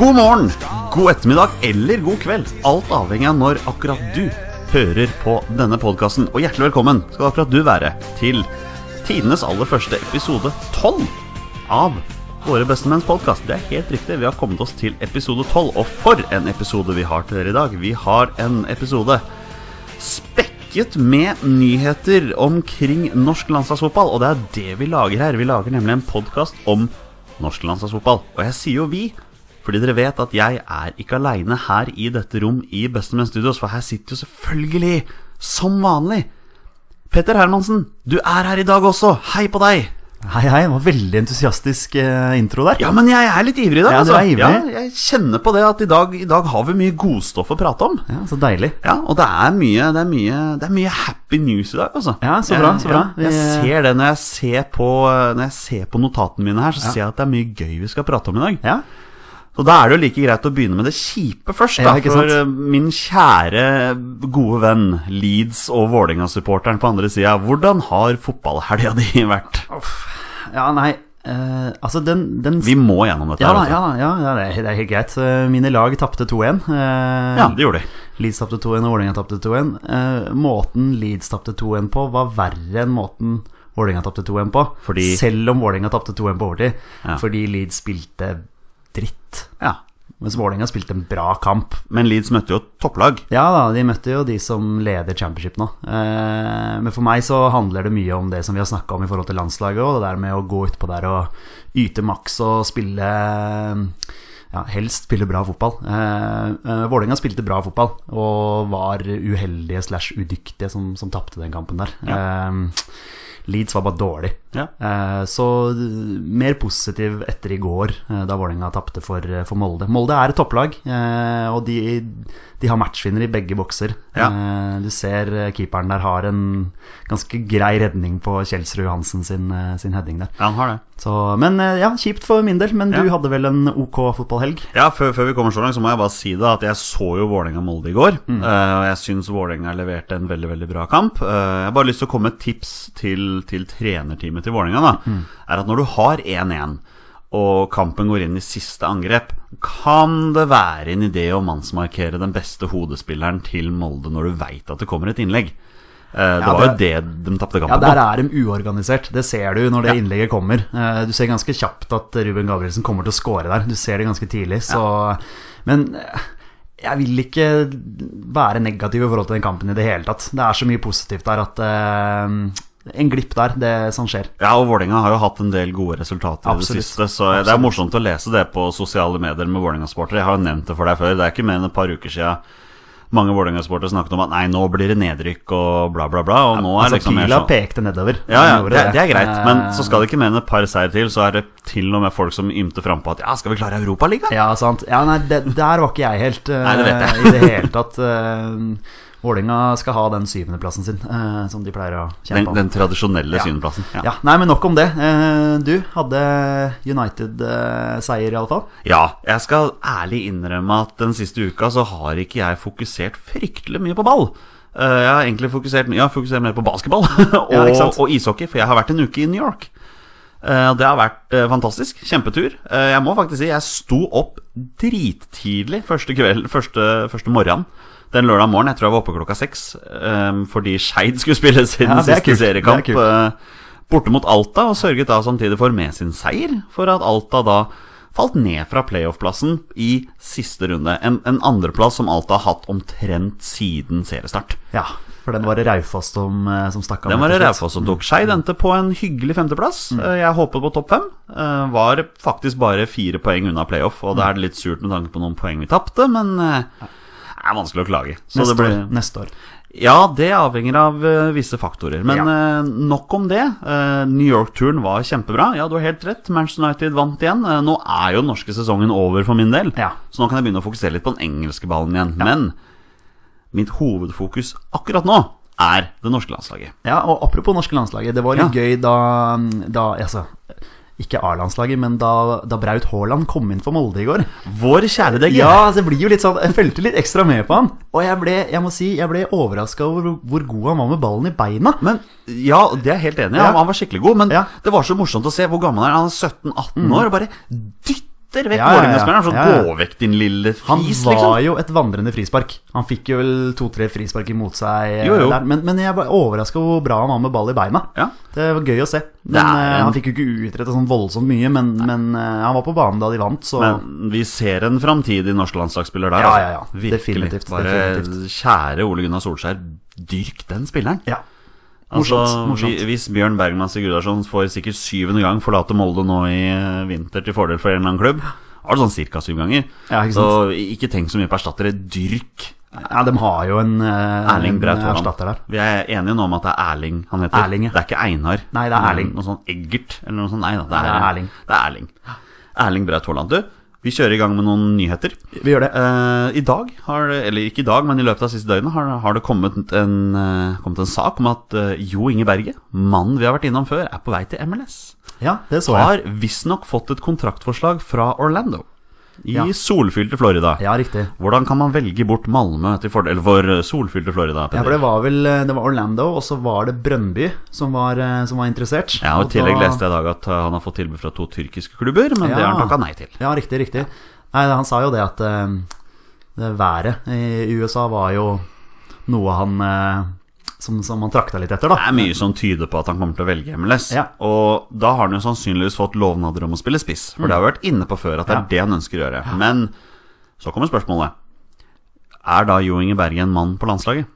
God morgen, god ettermiddag eller god kveld. Alt avhengig av når akkurat du hører på denne podkasten. Og hjertelig velkommen skal akkurat du være til tidenes aller første episode 12 av Våre bestemenns podkast. Det er helt riktig, vi har kommet oss til episode 12. Og for en episode vi har til dere i dag. Vi har en episode spekket med nyheter omkring norsk landslagsfotball. Og det er det vi lager her. Vi lager nemlig en podkast om norsk landslagsfotball. Og jeg sier jo vi, fordi dere vet at jeg er ikke aleine her i dette rom i Bestemenn Studios, for her sitter jo selvfølgelig, som vanlig, Petter Hermansen. Du er her i dag også. Hei på deg. Hei, hei. Det var veldig entusiastisk eh, intro der. Ja, men jeg er litt ivrig i dag. Ja, du altså. er ivrig. Ja, jeg kjenner på det at i dag, i dag har vi mye godstoff å prate om. Ja, Så deilig. Ja, og det er mye, det er mye, det er mye happy news i dag, altså. Ja, så bra, så bra. Ja, Jeg, Vi- ser det når jeg ser på, når jeg ser på notatene mine her, så ser jeg at det er mye gøy vi skal prate om i dag. Ja, Så da er det jo like greit å begynne med det kjipe først, da. Ja, ikke sant? for eh, min kjære, gode venn Leeds og Vålerenga-supporteren på andre sida, hvordan har fotballhelga di vært? ja nei eh, Altså, den, den Vi må gjennom dette. ja, da, her, ja, da, ja, ja, det er- det er helt greit. Eh, Mine lag tapte 2-1. Eh, altså. ja, det gjorde de. Leeds tapte 2-1, og Vålerenga tapte 2-1. Eh, måten Leeds tapte 2-1 på, var verre enn måten Vålerenga tapte 2-1 på. Fordi- Selv om Vålerenga tapte 2-1 på overtid. Ja. Fordi Leeds spilte dritt. Ja. Mens Vålerenga spilte en bra kamp. Men Leeds møtte jo et topplag. Ja da, de møtte jo de som leder championship nå. Eh, men for meg så handler det mye om det som vi har snakka om i forhold til landslaget, og det der med å gå utpå der og yte maks og spille eh, ja, helst spille bra fotball. Eh, eh, Vålerenga spilte bra fotball og var uheldige slash udyktige som, som tapte den kampen der. Eh, Leeds var bare dårlig. Ja. Eh, Så eh, mer positiv etter i går, eh, da Vålerenga tapte for, eh, for Molde. Molde er et topplag, eh, og de, de har matchvinner i begge bokser. Eh, Du ser eh, keeperen der har en ganske grei redning på Kjelsrud Johansen sin, eh, sin heading der. Ja, han har det. Så, men eh, ja, kjipt for min del, men Ja. du hadde vel en ok fotballhelg? Ja, før, før vi kommer så langt, så må jeg bare si det at jeg så jo Vålerenga-Molde i går. Mm. eh, Og jeg syns Vålerenga leverte en veldig veldig bra kamp. Eh, Jeg har bare lyst til å komme med et tips til, til trenerteamet til Vålerenga. da, Mm. Er at når du har 1-1, og kampen går inn i siste angrep, kan det være en idé å mannsmarkere den beste hodespilleren til Molde når du veit at det kommer et innlegg? Eh, Det Ja, var jo det- det de tapte Ja, kampen der på. er de uorganisert. Det ser du når det innlegget kommer. Eh, Du ser ganske kjapt at Ruben Gabrielsen kommer til å score der. Du ser det ganske tidlig, så Men eh, jeg vil ikke være negativ i forhold til den kampen i det hele tatt. Det er så mye positivt der at eh, En glipp der, det sånn skjer. Ja, og Vålerenga har jo hatt en del gode resultater i Absolutt. det siste. Så eh, det er morsomt å lese det på sosiale medier med Vålerenga-sportere. Jeg har jo nevnt det for deg før. Det er ikke mer enn et par uker siden mange Vålerenga-sportere snakket om at nei, nå blir det nedrykk og bla, bla, bla. Og nå er Altså, liksom mer pila sånn pekte nedover. ja, ja, Den gjorde det, det er greit, Eh, men så skal det ikke mer enn et par seier til. Så er det til og med folk som ymter frampå at ja, skal vi klare Europaligaen? Ja, sant. Ja, nei, det, der var ikke jeg helt eh, Nei, det vet jeg. i det hele tatt. Uh, Vålerenga skal ha den syvendeplassen sin, eh, som de pleier å kjempe Den, om. den tradisjonelle Ja. syneplassen. Ja. Ja, Nei, men nok om det. Eh, Du hadde United-seier, i alle fall. ja, jeg skal ærlig innrømme at den siste uka så har ikke jeg fokusert fryktelig mye på ball. Eh, Jeg har egentlig fokusert, jeg har fokusert mer på basketball og, Ja, ikke sant? og ishockey, for jeg har vært en uke i New York. Eh, og Det har vært eh, fantastisk. Kjempetur. Eh, Jeg må faktisk si jeg sto opp drittidlig første kveld, første, første morgenen. Den lørdag morgenen, jeg tror jeg var oppe klokka seks, eh, fordi Skeid skulle spille sin Ja, det er siste kult. seriekamp Det er kult. eh, borte mot Alta, og sørget da samtidig for med sin seier for at Alta da falt ned fra playoff-plassen i siste runde. En, en andreplass som Alta har hatt omtrent siden seriestart. Ja, For den var det Raufoss som, eh, som stakk av. Den var rett det og slett. Raufoss som tok. Skeid endte på en hyggelig femteplass. Mm. Eh, Jeg håpet på topp fem. Eh, Var faktisk bare fire poeng unna playoff, og da er det litt surt med tanke på noen poeng vi tapte, men eh, det er vanskelig å klage. Så Neste, det ble, år, neste år. ja, det avhenger av eh, visse faktorer. Men Ja. eh, nok om det. Eh, New York-turen var kjempebra. Ja, du har helt rett. Manchester United vant igjen. Eh, nå er jo den norske sesongen over for min del, Ja. så nå kan jeg begynne å fokusere litt på den engelske ballen igjen. Men mitt hovedfokus akkurat nå er det norske landslaget. Ja, og Apropos norske landslaget. Det var litt gøy da, da altså, Ikke A-landslaget, men da, da Braut Haaland kom inn for Molde i går. Vår kjære Degge. Ja, altså, det blir jo litt sånn Jeg fulgte litt ekstra med på han. Og jeg ble, jeg må si, jeg ble overraska over hvor god han var med ballen i beina. Men, ja, det er jeg helt enig i. Ja. Han var skikkelig god. Men Ja. det var så morsomt å se hvor gammel han er. Han er 17-18 år og bare dytter dytter vekk Ja, ja, ja. Vålerenga-spilleren. Sånn, Ja, ja. gå vekk, din lille fis, Han liksom. var jo et vandrende frispark. Han fikk jo vel to-tre frispark imot seg. eh, Jo, jo. Der. Men, men jeg var overraska hvor bra han var med ball i beina. Ja. Det var gøy å se. Men, er eh, en- Han fikk jo ikke utretta sånn voldsomt mye, men, men eh, han var på banen da de vant, så Men vi ser en framtidig norsk landslagsspiller der. Ja, altså. ja, ja. Definitivt, Bare kjære Ole Gunnar Solskjær, dyrk den spilleren. ja. Altså, Morsomt, morsomt. vi- Hvis Bjørn Bergman Sigurdarsson får sikkert syvende gang forlate Molde nå i eh, vinter til fordel for en eller annen klubb, har det sånn cirka syv ganger. Ja, ikke sant. så ikke tenk så mye på erstattere. Dyrk ja, de har jo en, eh, Erling en Braut Haaland. erstatter der. Vi er enige nå om at det er Erling han heter. Erling, ja. Det er ikke Einar. Nei, det er Erling. Noe sånn Eggert eller noe sånt. Nei da, det er, Det er Erling. Det er Erling. Erling Braut Haaland, du. Vi kjører i gang med noen nyheter. Vi gjør det. Eh, I dag, har, det- eller ikke i dag, men i løpet av siste døgnet, har, har det kommet en, eh, kommet en sak om at eh, Jo Inge Berge, mannen vi har vært innom før, er på vei til MLS. Eh, Ja, det så jeg. Har visstnok fått et kontraktforslag fra Orlando, i Ja. solfylte Florida. Ja, riktig. Hvordan kan man velge bort Malmö til fordel for eh, solfylte Florida? Ja, Petter? for det var vel eh, det var Orlando, og så var det Brøndby som var, eh, som var interessert. Ja, og I tillegg leste jeg i dag at eh, han har fått tilbud fra to tyrkiske klubber, men det har han Ja. takka nei til. Ja, riktig, riktig. Nei, han sa jo det at eh, det været i USA var jo noe han eh, som, som han trakta litt etter, Det da. er mye som tyder på at han kommer til å velge MLS. Ja. Og da har han jo sannsynligvis fått lovnader om å spille spiss, for det har vi vært inne på før at det er det han ønsker å gjøre. Men så kommer spørsmålet. Er da Jo Inge Berge en mann på landslaget?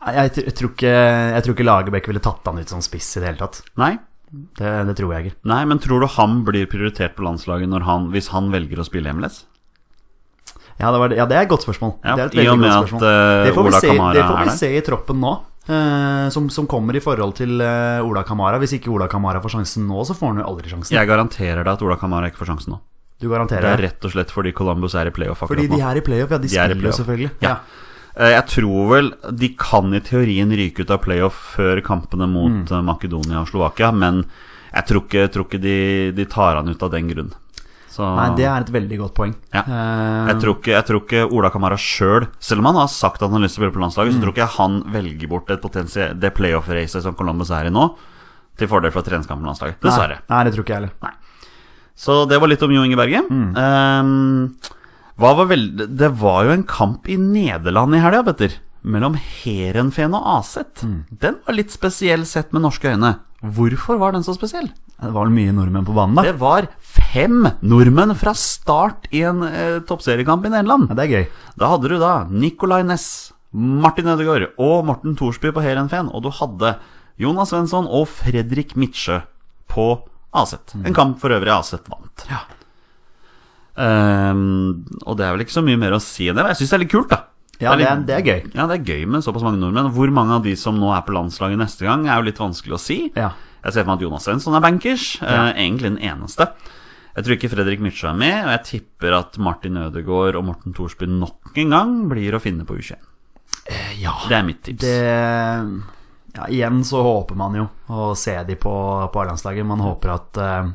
Nei, Jeg, tr- jeg, tror ikke, jeg tror ikke Lagerbäck ville tatt han ut som spiss i det hele tatt. Nei. Det, det tror jeg ikke. Nei, men tror du han blir prioritert på landslaget når han, hvis han velger å spille i MLS? Ja, det, var, ja, det er et godt spørsmål. Ja, det er et I veldig og med godt at spørsmål. eh, det får vi Ola se, Kamara det får er vi der. se i troppen nå. eh, som, som kommer i forhold til eh, Ola Kamara. Hvis ikke Ola Kamara får sjansen nå, så får han jo aldri sjansen. Jeg garanterer deg at Ola Kamara ikke får sjansen nå. Du garanterer Det er det. rett og slett fordi Columbus er i playoff akkurat Fordi nå. de er i playoff, ja. De, De er i spiller jo playoff. selvfølgelig. Ja. Eh, Jeg tror vel de kan i teorien ryke ut av playoff før kampene mot Mm. eh, Makedonia og Slovakia, men jeg tror ikke, tror ikke de, de tar han ut av den grunn. Så Nei, det er et veldig godt poeng. Ja. Eh, jeg, tror ikke, jeg tror ikke Ola Kamara sjøl, selv om han har sagt at han har lyst til å spille på landslaget, Mm. så tror ikke jeg han velger bort et potensie- det playoff-racet som Columbus er i nå, til fordel for treningskamp på landslaget. Dessverre. Nei, nei, det tror ikke jeg heller. Så det var litt om Jo Inge Berge. Ehm, hva var vel... Det var jo en kamp i Nederland i helga, Petter. Mellom Heerenveen og Aset. Den var litt spesiell sett med norske øyne. Hvorfor var den så spesiell? Det var vel mye nordmenn på banen, da. Det var fem nordmenn fra start i en eh, toppseriekamp i Nederland. Ja, det er gøy. Da hadde du da Nicolay Næss, Martin Ødegaard og Morten Thorsby på Heerenveen. Og du hadde Jonas Svensson og Fredrik Midtsjø på Aset. En kamp for øvrig Aset vant. Ja. Ehm, og det er vel ikke så mye mer å si enn det. men Jeg syns det er litt kult, da. Ja, det er, litt- det er gøy. Ja, det er gøy med såpass mange nordmenn. Hvor mange av de som nå er på landslaget neste gang, er jo litt vanskelig å si. Ja. Jeg ser for meg at Jonas Svensson er bankers. eh, egentlig den eneste. Jeg tror ikke Fredrik Mitsjø er med, og jeg tipper at Martin Ødegaard og Morten Thorsby nok en gang blir å finne på U21. ja. Det er mitt tips. Det ja, Igjen så håper man jo å se de på, på A-landslaget. Man håper at eh,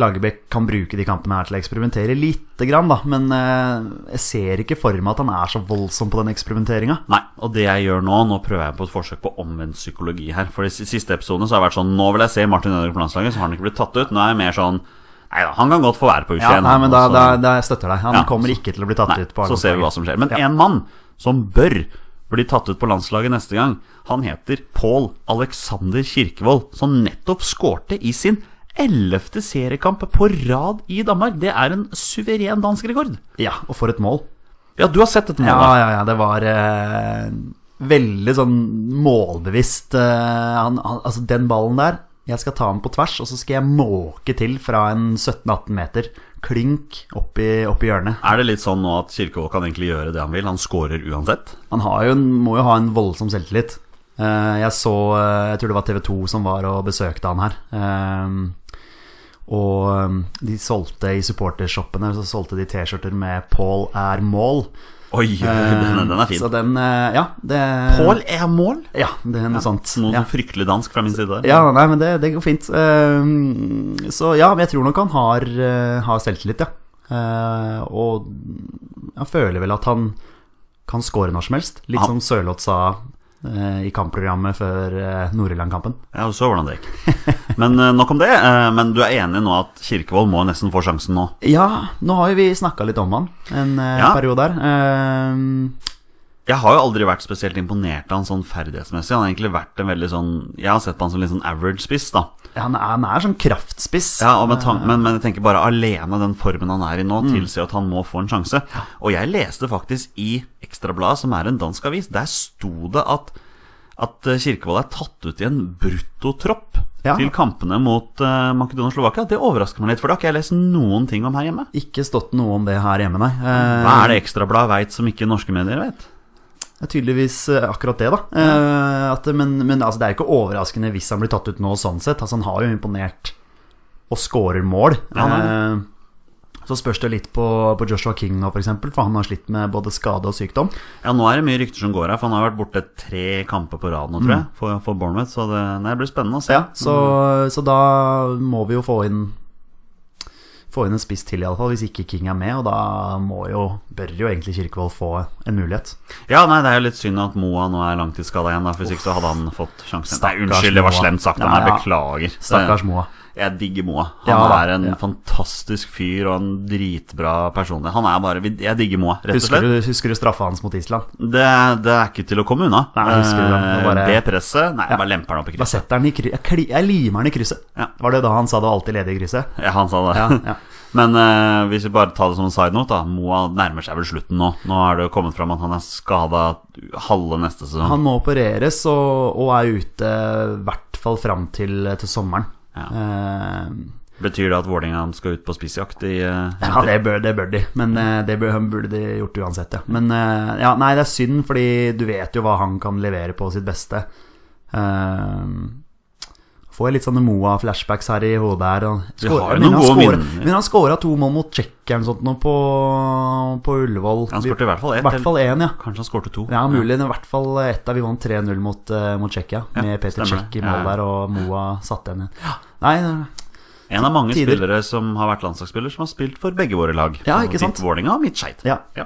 Lagerbäck kan bruke de kampene her til å eksperimentere lite grann, da. Men eh, jeg ser ikke for meg at han er så voldsom på den eksperimenteringa. Nei, og det jeg gjør nå, nå prøver jeg på et forsøk på omvendt psykologi her. For i s- siste episode så har jeg vært sånn Nå vil jeg se Martin Ødegaard på landslaget, så har han ikke blitt tatt ut. Nå er jeg mer sånn Nei da, han kan godt få være på U21. Ja, nei, men da, og så- da, da jeg støtter jeg deg. Han Altså- Ja, kommer ikke til å bli tatt Nei, ut på så ser vi hva A-landslaget. som skjer. Men en mann som bør bli tatt ut på landslaget neste gang, han heter Pål Alexander Kirkevold, som nettopp skårte i sin ellevte seriekamp på rad i Danmark. Det er en suveren dansk rekord. Ja, og for et mål. Ja, du har sett dette målet. Ja, ja, ja, det var eh, veldig sånn målbevisst. eh, han, han, altså den ballen der, jeg skal ta den på tvers, og så skal jeg måke til fra en 17-18 meter. Klink opp i, opp i hjørnet. Er det litt sånn nå at Kirkevold kan egentlig gjøre det han vil? Han scorer uansett? Han har jo, en- må jo ha en voldsom selvtillit. Eh, jeg så eh, Jeg tror det var TV 2 som var og besøkte han her. Eh, og eh, de solgte i supportershoppene Så solgte de T-skjorter med 'Paul er mål'. Oi, den, den er fin. Så den, eh, ja, det, Pål er mål? Ja, det er noe sånt. Noe Ja. fryktelig dansk fra min side. der. Ja, nei, men det, det går fint. Ehm, så ja, men jeg tror nok han har, eh, har selvtillit, ja. Eh, og jeg føler vel at han kan score når som helst. Litt Ja. som Sørloth sa eh, i kampprogrammet før uh, Nord-Irland-kampen. Ja, og så hvordan det gikk. Men eh, nok om det. eh, Men du er enig nå at Kirkevold må nesten få sjansen nå? Ja, nå har jo vi snakka litt om han en eh, Ja. periode her. Eh, Jeg har jo aldri vært spesielt imponert av han sånn ferdighetsmessig. Han har egentlig vært en veldig sånn Jeg har sett på han som litt sånn average spiss, da. han, er, han er sånn kraftspiss. Ja, og med tan men, men jeg tenker bare alene den formen han er i Mm. nå, tilsier at han må få en sjanse. Og jeg leste faktisk i Ekstrabladet, som er en dansk avis, der sto det at, at eh, Kirkevold er tatt ut i en bruttotropp Ja. til kampene mot eh, Makedonia og Slovakia. Det overrasker meg litt, for det har ikke jeg lest noen ting om her hjemme. Ikke stått noe om det her hjemme, nei. Eh, Hva er det Ekstrabladet veit som ikke norske medier vet? Det er tydeligvis eh, akkurat det, da. Eh, At, men men altså, det er jo ikke overraskende hvis han blir tatt ut nå, sånn sett. Altså, han har jo imponert og skårer mål. Ja, han Eh, Så spørs det litt på, på Joshua King nå, for eksempel, for han har slitt med både skade og sykdom. Ja, nå er det mye rykter som går her, for han har vært borte tre kamper på rad nå, tror Mm. jeg, for, for Bournemouth, så det, nei, det blir spennende å se. Så, så da må vi jo få inn Få inn en spiss til, iallfall, hvis ikke King er med. Og da må jo, bør jo egentlig Kirkevold få en mulighet. Ja, nei, det er jo litt synd at Moa nå er langtidsskada igjen, da, for hvis ikke så hadde han fått sjansen. Nei, Stakkars unnskyld, det var Moa. slemt sagt av Ja, meg. ja. Beklager. Det- Stakkars Moa. Jeg digger Moa. Han Ja, er en ja. fantastisk fyr og en dritbra personlighet. Han er bare Jeg digger Moa, rett og slett. Husker du, husker du straffa hans mot Island? Det, det er ikke til å komme unna. Nei, jeg husker det, Eh, det var bare- det presset Nei, Ja. bare lemper han opp i Bare krysset. setter han i kry jeg, kli jeg limer han i krysset. Ja. Var det da han sa det var alltid ledig i krysset? Ja, han sa det. Ja, ja. Men eh, hvis vi bare tar det som en side note, da. Moa nærmer seg vel slutten nå. Nå har det jo kommet fram at han er skada halve neste sesong. Han må opereres og, og er ute i hvert fall fram til, til sommeren. Ja. Eh, Betyr det at Vålerenga skal ut på spissjakt i eh, ja, det bør, det bør de, men eh, det bør, han burde de gjort uansett. Ja. Men eh, ja, nei, det er synd, fordi du vet jo hva han kan levere på sitt beste. Eh, får jeg litt sånne Moa-flashbacks her i hodet her. og- Vi har jo noen Skårer- men han gode skårer- minner. Men han skåra to mål mot Tsjekkia eller noe sånt nå på, på Ullevål. Han skåret i hvert fall I ett. hvert fall én, ja. eller Kanskje han skårte to. Ja, mulig. I hvert fall etter vi vant 3-0 mot, uh, mot Tsjekkia. med Peter stemmer det. Tsjekk i Ja, mål ja. der, og Moa satte henne. Nei, eh, En av mange Tider. spillere som har vært landslagsspiller, som har spilt for begge våre lag. Ja, ikke sant? Mitt Vålinga og mitt Skeid. ja. Ja.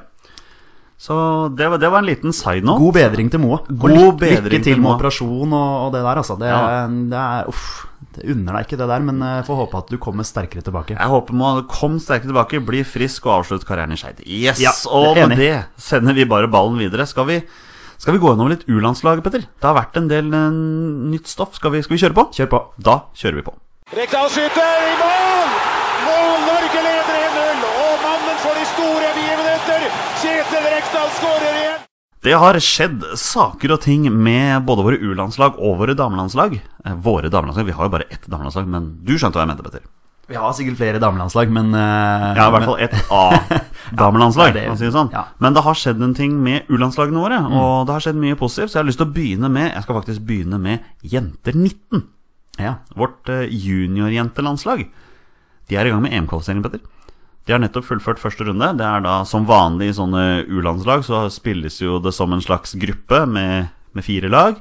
Så det var, det var en liten side note. God bedring til Moa. Og God lykke- bedring til lykke til med Moa. operasjon og, og det der, altså. Det, Ja. det er Uff. Det unner deg ikke det der, men eh, får håpe at du kommer sterkere tilbake. Jeg håper må kom sterkt tilbake, bli frisk og avslutt karrieren i Skeid. Yes! Ja, og med enig. det sender vi bare ballen videre. Skal vi, skal vi gå gjennom litt U-landslaget, Petter? Det har vært en del eh, nytt stoff. Skal vi, skal vi kjøre på? Kjør på. Da kjører vi på. Rekdal skyter i mål! Mål! Norge leder 1-0. Og mannen for de store begivenheter, Kjetil Rekdal, skårer igjen! Det har skjedd saker og ting med både våre U-landslag og våre damelandslag. Eh, Våre damelandslag, Vi har jo bare ett damelandslag, men du skjønte hva jeg mente, Petter. Vi har sikkert flere damelandslag, men eh, Ja, i hvert men- fall ett A-damelandslag, det er det. for å si det sånn. Ja. Mm. Men det har skjedd en ting med U-landslagene våre, og det har skjedd mye positivt, så jeg har lyst til å begynne med Jeg skal faktisk begynne med Jenter 19. ja. Vårt eh, juniorjentelandslag. De er i gang med EM-kvalifisering, Petter. De har nettopp fullført første runde. Det er da som vanlig i sånne U-landslag, så spilles jo det som en slags gruppe med, med fire lag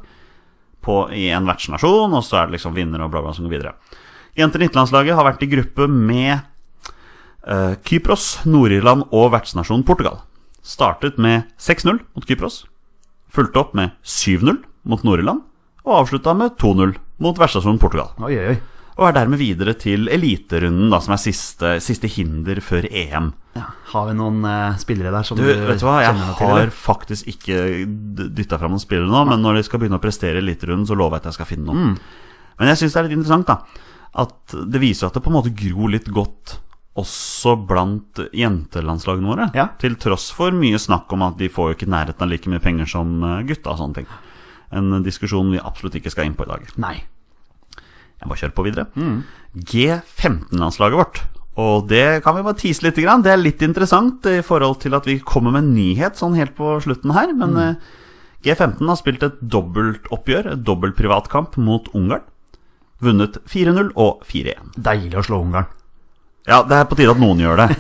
på, i en vertsnasjon, og så er det liksom vinner og bla, bla, som går videre. Jenter 19-landslaget har vært i gruppe med eh, Kypros, Nord-Irland og vertsnasjonen Portugal. Startet med 6-0 mot Kypros, fulgte opp med 7-0 mot Nord-Irland, og avslutta med 2-0 mot vertsnasjonen Portugal. Oi, oi, oi. Og er dermed videre til eliterunden, da, som er siste, siste hinder før EM. Ja. Har vi noen eh, spillere der som Du, du, vet du hva, jeg kjenner noe til? har eller? faktisk ikke dytta fram noen spillere nå, men når de skal begynne å prestere i eliterunden, så lover jeg at jeg skal finne noen. Mm. Men jeg syns det er litt interessant, da. At det viser at det på en måte gror litt godt også blant jentelandslagene våre. Ja. Til tross for mye snakk om at de får jo ikke i nærheten av like mye penger som eh, gutta og sånne ting. En diskusjon vi absolutt ikke skal inn på i dag. Nei. Jeg bare kjører på videre. G15-landslaget vårt. Og det kan vi bare tease litt. Grann. Det er litt interessant i forhold til at vi kommer med en nyhet sånn helt på slutten her. Men eh, G15 har spilt et dobbeltoppgjør, et dobbelt privatkamp mot Ungarn. Vunnet 4-0 og 4-1. Deilig å slå Ungarn. Ja, det er på tide at noen gjør det.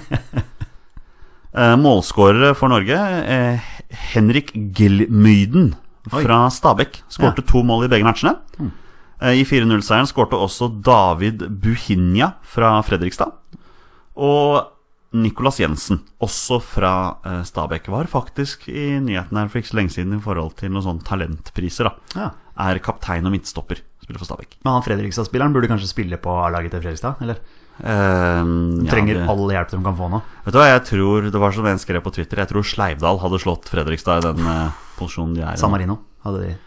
Eh, Målskårere for Norge eh, Henrik Gilmyden fra Stabekk skårte to mål i begge matchene. Hmm. Eh, I 4-0-seieren skårte også David Buhinja fra Fredrikstad. Og Nicolas Jensen, også fra eh, Stabekk, var faktisk i nyheten her for ikke så lenge siden i forhold til noen sånne talentpriser. da Ja. Er kaptein og midtstopper. spiller for Stabæk. Men han Fredrikstad-spilleren burde kanskje spille på A-laget til Fredrikstad? Eller Ehm, ja, Eh, trenger det- all hjelp de kan få nå? Vet du hva, jeg tror Det var som en skrev på Twitter, jeg tror Sleivdal hadde slått Fredrikstad i den eh, posisjonen de er i. San Marino hadde de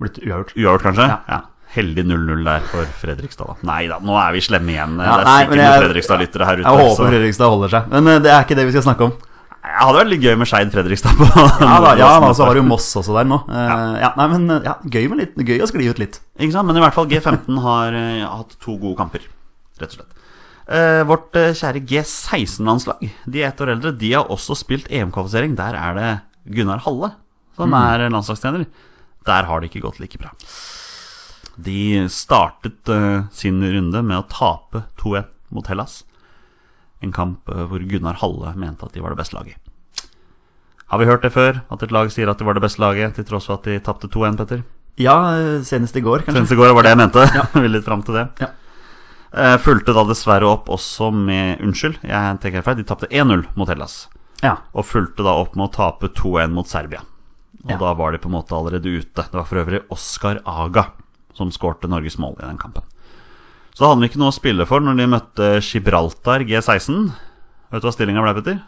blitt uavgjort. Uavgjort, kanskje? Ja. Ja. Heldig 0-0 der for Fredrikstad, da. Nei da, nå er vi slemme igjen. Ja, det er nei, sikkert men jeg- noen Fredrikstad-lyttere her ute. Jeg håper så- Fredrikstad holder seg, men eh, det er ikke det vi skal snakke om. Ja, det hadde vært litt gøy med Skeid Fredrikstad på Ja da, ja, da så har du Moss også der nå. Eh, Ja, nei, men eh, ja, gøy, med litt, gøy å skli ut litt. Ikke sant? Men i hvert fall G15 har eh, hatt to gode kamper, rett og slett. Eh, vårt eh, kjære G16-landslag, de er ett år eldre, de har også spilt EM-kvalifisering. Der er det Gunnar Halle som er landslagstrener. Der har det ikke gått like bra. De startet eh, sin runde med å tape 2-1 mot Hellas. En kamp eh, hvor Gunnar Halle mente at de var det beste laget. Har vi hørt det før? At et lag sier at de var det beste laget, til tross for at de tapte 2-1, Petter? Ja, eh, senest i går, kanskje. Senest i går var det jeg mente. Jeg Vil litt fram til det. Ja. Eh, Fulgte da dessverre opp også med Unnskyld, jeg tenker feil. De tapte 1-0 mot Hellas. Ja. Og fulgte da opp med å tape 2-1 mot Serbia. Og Ja. da var de på en måte allerede ute. Det var for øvrig Oskar Aga som skårte Norges mål i den kampen. Så da hadde de ikke noe å spille for når de møtte Gibraltar G16. Vet du hva stillinga ble, Petter?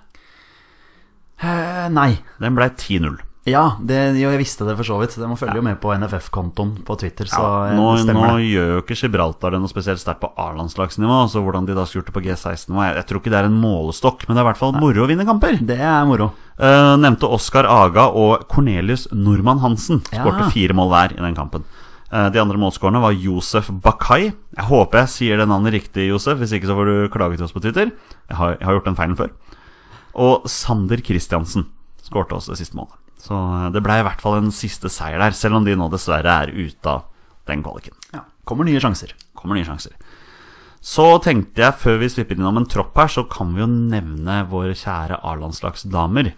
Eh, nei. Den ble 10-0. Ja, det, jo, jeg visste det for så vidt. De følger jo med på NFF-kontoen på Twitter, så Ja, eh, nå, nå det stemmer det. gjør jo ikke Gibraltar det noe spesielt sterkt på A-landslagsnivå. Så hvordan de da skulle gjort det på G16 var- jeg, jeg tror ikke det er en målestokk, men det er i hvert fall moro å vinne kamper. Det er moro. Eh, nevnte Oskar Aga og Cornelius Normann Hansen. Skårte Ja. fire mål hver i den kampen. Eh, de andre målskårerne var Josef Bakai. Jeg håper jeg sier det navnet riktig, Josef. Hvis ikke så får du klage til oss på Twitter. Jeg har, jeg har gjort den feilen før. Og Sander Kristiansen skårte også det siste målet. Så eh, det ble i hvert fall en siste seier der, selv om de nå dessverre er ute av den kvaliken Ja. Kommer nye sjanser. kommer nye sjanser. Så tenkte jeg, før vi slipper innom en tropp her, så kan vi jo nevne våre kjære A-landslagsdamer.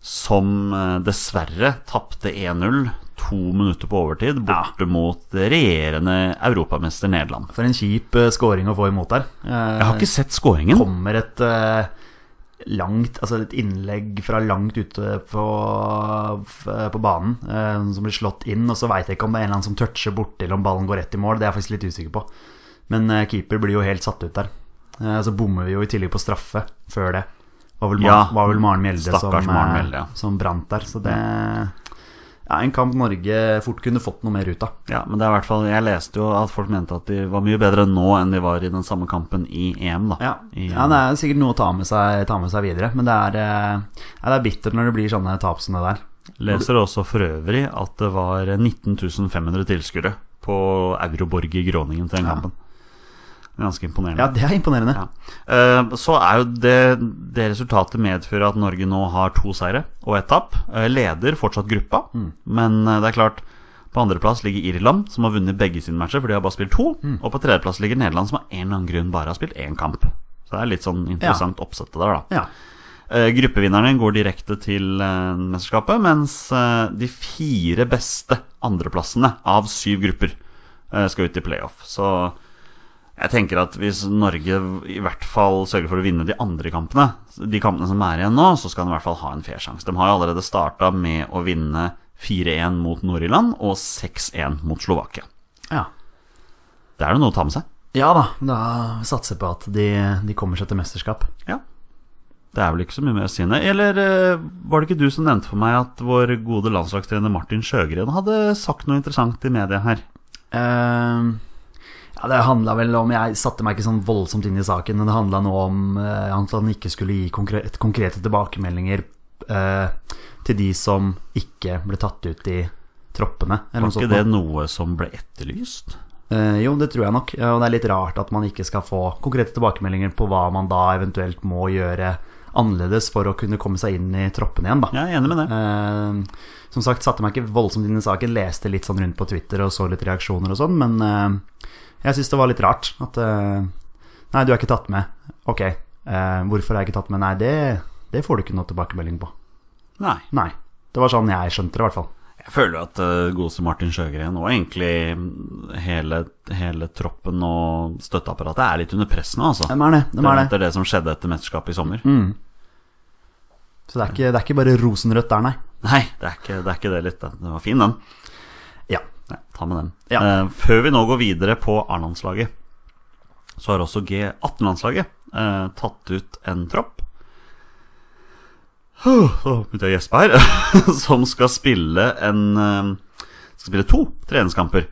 Som eh, dessverre tapte 1-0 to minutter på overtid borte mot regjerende europamester Nederland. For en kjip uh, scoring å få imot der. Eh, Jeg har ikke sett skåringen. kommer et eh, langt Altså et innlegg fra langt ute på, f- på banen eh, som blir slått inn, og så veit jeg ikke om det er en eller annen som toucher borti eller om ballen går rett i mål. Det er jeg faktisk litt usikker på. Men eh, keeper blir jo helt satt ut der. Eh, så bommer vi jo i tillegg på straffe før det. Var vel, Mar Ja, var vel Maren Mjelde som, stakkars Maren eh, Mjelde, ja. som brant der, så det ja, en kamp Norge fort kunne fått noe mer ut av. Ja, men det er i hvert fall Jeg leste jo at folk mente at de var mye bedre nå enn de var i den samme kampen i EM, da. Ja. I, ja, det er sikkert noe å ta med seg, ta med seg videre, men det er, eh, ja, det er bittert når det blir sånne tap som det der. Leser også for øvrig at det var 19.500 tilskuere på Euroborg i Groningen til den Ja. kampen. Ganske imponerende. Ja, det er imponerende. Ja. Eh, Så er jo det, det resultatet medfører at Norge nå har to seire og ett tap. Eh, Leder fortsatt gruppa, Mm. men eh, det er klart på andreplass ligger Irland, som har vunnet begge sine matcher, for de har bare spilt to. Mm. Og på tredjeplass ligger Nederland, som av en eller annen grunn bare har spilt én kamp. Så det er litt sånn interessant oppsett det der, da. Ja. Eh, Gruppevinnerne går direkte til eh, mesterskapet, mens eh, de fire beste andreplassene av syv grupper eh, skal ut i playoff. Så jeg tenker at hvis Norge i hvert fall sørger for å vinne de andre kampene, de kampene som er igjen nå, så skal de i hvert fall ha en fair sjanse. De har jo allerede starta med å vinne 4-1 mot Nord-Irland og 6-1 mot Slovakia. Ja. Det er jo noe å ta med seg. ja da, da satser jeg på at de, de kommer seg til mesterskap. Ja. Det er vel ikke så mye mer å si enn det. Eller eh, var det ikke du som nevnte for meg at vår gode landslagstrener Martin Sjøgren hadde sagt noe interessant i media her? Ehm, ja, det handla vel om Jeg satte meg ikke sånn voldsomt inn i saken, men det handla nå om eh, at han ikke skulle gi konkret, konkrete tilbakemeldinger eh, til de som ikke ble tatt ut i troppene. Eller Var noe ikke sånt. det noe. noe som ble etterlyst? Eh, jo, det tror jeg nok. eh, Og det er litt rart at man ikke skal få konkrete tilbakemeldinger på hva man da eventuelt må gjøre annerledes for å kunne komme seg inn i troppene igjen, da. Jeg er enig med det. Eh, som sagt, satte meg ikke voldsomt inn i saken, leste litt sånn rundt på Twitter og så litt reaksjoner og sånn, men eh, jeg syns det var litt rart at eh, Nei, du er ikke tatt med. Ok, eh, hvorfor er jeg ikke tatt med? Nei, det, det får du ikke noe tilbakemelding på. Nei. Nei. Det var sånn jeg skjønte det, i hvert fall. Jeg føler at uh, godeste Martin Sjøgren og egentlig mm, hele, hele troppen og støtteapparatet er litt under press nå, altså. De er det. De er det. Etter det Mm. som skjedde etter mesterskapet i sommer. Så det er ikke, det er ikke bare rosenrødt der, nei. Nei, det er ikke det, er ikke det litt. Det var fin, den. Ja. Ja, ta med den. Ja. Eh, før vi nå går videre på A-landslaget, så har også G18-landslaget eh, tatt ut en tropp. Huh, Nå begynte jeg å gjespe her. Som skal spille en eh, Skal spille to treningskamper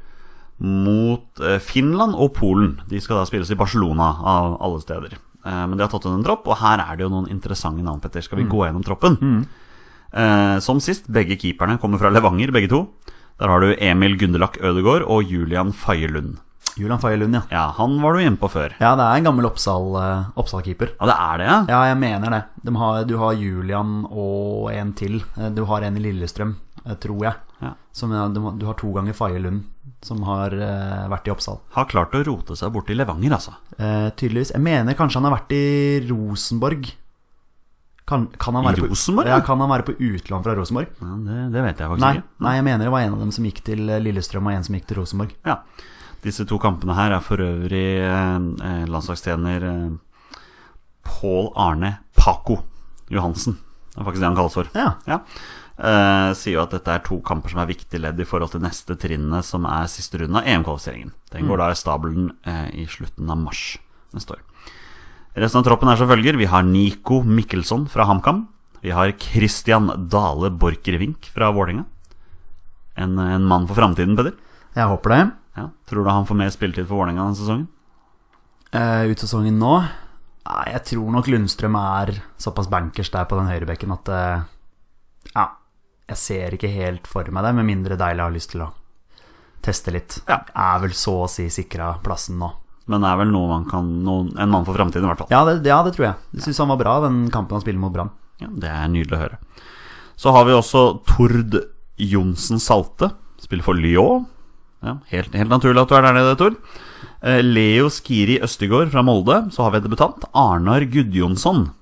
mot eh, Finland og Polen. De skal da spilles i Barcelona, av alle steder. Eh, Men de har tatt ut en tropp, og her er det jo noen interessante navn, Petter. Skal vi gå gjennom troppen? Eh, som sist, begge keeperne kommer fra Levanger, begge to. Der har du Emil Gundelak Ødegaard og Julian Faye Lund. Julian Faye Lund, ja. Ja, han var du hjemme på før. Ja, det er en gammel Oppsal, eh, Oppsal-keeper. Ja, det er det, ja? Ja, jeg mener det. De har, du har Julian og en til. Eh, Du har en i Lillestrøm, eh, tror jeg. Ja. Som, eh, du, du har to ganger Faye Lund, som har eh, vært i Oppsal. Har klart å rote seg borti Levanger, altså. Eh, tydeligvis. Jeg mener kanskje han har vært i Rosenborg. Kan, kan han I være Rosenborg, På, ja, ja? kan han være på utland fra Rosenborg? Ja, det, det vet jeg faktisk Nei, ikke. nei, jeg mener det var en av dem som gikk til eh, Lillestrøm, og en som gikk til Rosenborg. Ja. Disse to kampene her er for øvrig eh, eh, landslagstrener eh, Pål Arne Paco Johansen. Det er faktisk det han kalles for. Ja. Eh, sier jo at dette er to kamper som er viktig ledd i forhold til neste trinnet, som er siste runde av EM-kvalifiseringen. Den går da i stabelen eh, i slutten av mars neste år. Resten av troppen er som følger. Vi har Nico Mikkelsson fra HamKam. Vi har Christian Dale Borchgrevink fra Vålerenga. En, en mann for framtiden, Peder. Jeg håper det. Ja. Tror du han får mer spilletid for Vålerenga denne sesongen? Eh, ut sesongen nå Nei, jeg tror nok Lundstrøm er såpass bankers der på den høyrebekken at eh, Ja, jeg ser ikke helt for meg det, med mindre Deilig har lyst til å teste litt. Ja. Er vel så å si sikra plassen nå. Men det er vel noe man kan, noen, en mann for framtiden, i hvert fall. Ja, det, ja, det tror jeg. Jeg syns han var bra, den kampen han spiller mot Brann. Ja, det er nydelig å høre. Så har vi også Tord Johnsen Salte. Spiller for Lyon. Ja, helt, helt naturlig at du er der nede, Tord. Eh, Leo Skiri Østegård fra Molde. Så har vi en debutant. Arnar Gudjonsson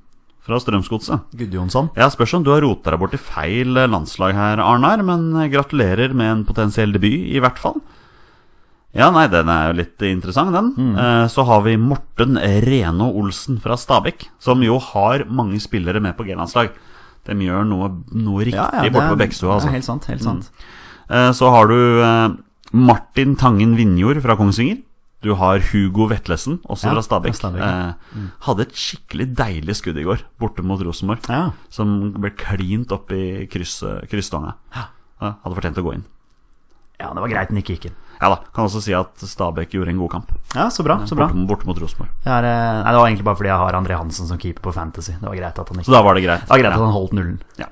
fra Strømsgodset. Gudjonsson. Ja, spørs om du har rota deg bort i feil eh, landslag her, Arnar. Men eh, gratulerer med en potensiell debut, i hvert fall. Ja, nei, den er jo litt interessant, den. Mm. Eh, Så har vi Morten Reno Olsen fra Stabekk, som jo har mange spillere med på G-landslag. De gjør noe, noe riktig borte på Bekkstua, det altså. er helt sant. Helt sant. Eh, Så har du eh, Martin Tangen Vinjord fra Kongsvinger. Du har Hugo Vetlesen, også Ja, fra Stabekk. fra Stabæk, ja. Mm. Eh, hadde et skikkelig deilig skudd i går, borte mot Rosenborg. Ja. Som ble klint opp i krysset- krysstånga. Ja, hadde fortjent å gå inn. ja, det var greit den ikke gikk inn. Ja da, kan også si at Stabæk gjorde en god kamp. Ja, så bra. så bra. Borte, borte mot Rosenborg. Det, er, eh, nei, det var egentlig bare fordi jeg har André Hansen som keeper på Fantasy. Det var greit at han Så ikke da var det greit. Det var greit at han holdt nullen. Ja.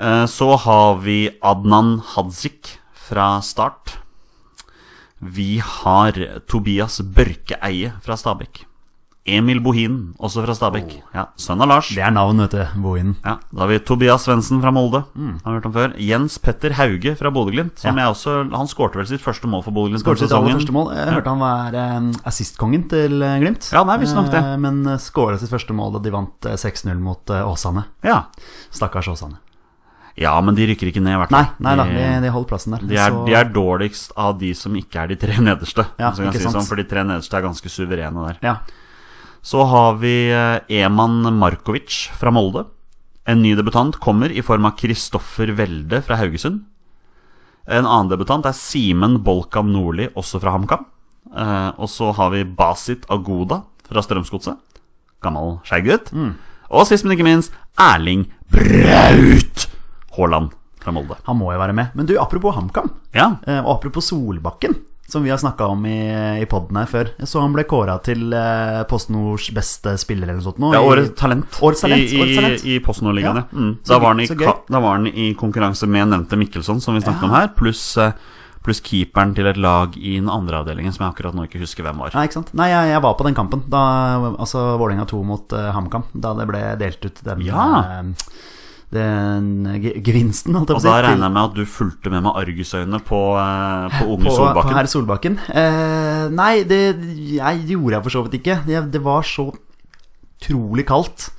Eh, Så har vi Adnan Hadzik fra Start. Vi har Tobias Børkeeie fra Stabekk. Emil Bohin, også fra Stabekk. Ja, sønn av Lars. Oh. Det er navn, vet du. Bohinen. Ja, da har vi Tobias Svendsen fra Molde. Mm. Har hørt om før. Jens Petter Hauge fra Bodø-Glimt. som jeg også- Han skårte vel sitt første mål for Bodø-Glimt Skåret denne sitt aller første sesongen. mål. Jeg hørte han var eh, assistkongen til eh, Glimt. Ja, nei, visst nok det. Eh, Men skåra sitt første mål da de vant eh, 6-0 mot eh, Åsane. Ja. Stakkars Åsane. ja, men de rykker ikke ned, i hvert Nei, fall. nei da, De- de, de holder plassen der. De er, Så- de er dårligst av de som ikke er de tre nederste. Ja, hvis jeg kan ikke si det sant. sånn, for de tre nederste er ganske suverene der. ja. Så har vi eh, Eman Markovic fra Molde. En ny debutant kommer i form av Kristoffer Welde fra Haugesund. En annen debutant er Simen Bolkan Nordli, også fra HamKam. Eh, og så har vi Basit Agoda fra Strømsgodset. Gammel skeigggutt. Mm. Og sist, men ikke minst, Erling Braut Haaland fra Molde. Han må jo være med. Men du, apropos HamKam, Ja, eh, og apropos Solbakken, som vi har snakka om i, i poden her før. Jeg så han ble kåra til eh, PostNords beste spiller eller noe sånt nå. Det er i- årets talent, Årets talent, i, årets talent. i, i PostNord-ligaen. Ja. Ja. Mm. Så Da, gøy, var han i så gøy. ka- da var han i konkurranse med nevnte Mikkelsson, som vi snakket om her, pluss eh, pluss keeperen til et lag i den andre avdelingen, som jeg akkurat nå ikke husker hvem var. Nei, ikke sant? Nei, jeg, jeg var på den kampen. Da, altså Vålerenga 2 mot eh, HamKam. Da det ble delt ut den, Ja. eh, den ge- gevinsten, holdt jeg Og på å si. da til- regner jeg med at du fulgte med med argusøyne på, eh, på unge på, på Solbakken. herr Solbakken. Eh, nei, det jeg gjorde jeg for så vidt ikke. Det, det var så utrolig kaldt.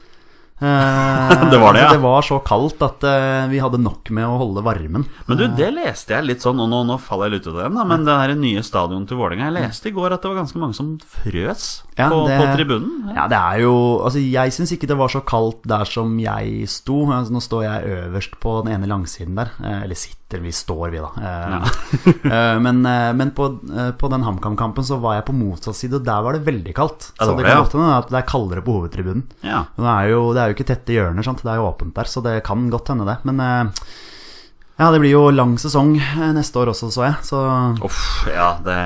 Eh, Det var det, ja. altså, Det var så kaldt at eh, vi hadde nok med å holde varmen. Men du, det leste jeg litt sånn, og nå, nå faller jeg litt ut av den, da, Mm. men det her nye stadionet til Vålerenga Jeg leste i går at det var ganske mange som frøs Ja, på, det- på tribunen. Ja, det er jo Altså, jeg syns ikke det var så kaldt der som jeg sto. Altså, nå står jeg øverst på den ene langsiden der. eh, Eller sitter, Eller vi står, vi, da. Eh, eh, men, eh, men på, eh, på den HamKam-kampen så var jeg på motsatt side, og der var det veldig kaldt. Ja, det Så var det det, kan ja. godt hende at det er kaldere på hovedtribunen. Ja. Men Det er, jo, det er jo ikke tette hjørner, sant? det er jo åpent der, så det kan godt hende det. Men eh, ja, det blir jo lang sesong eh, neste år også, så jeg. Så, Uff, ja, det,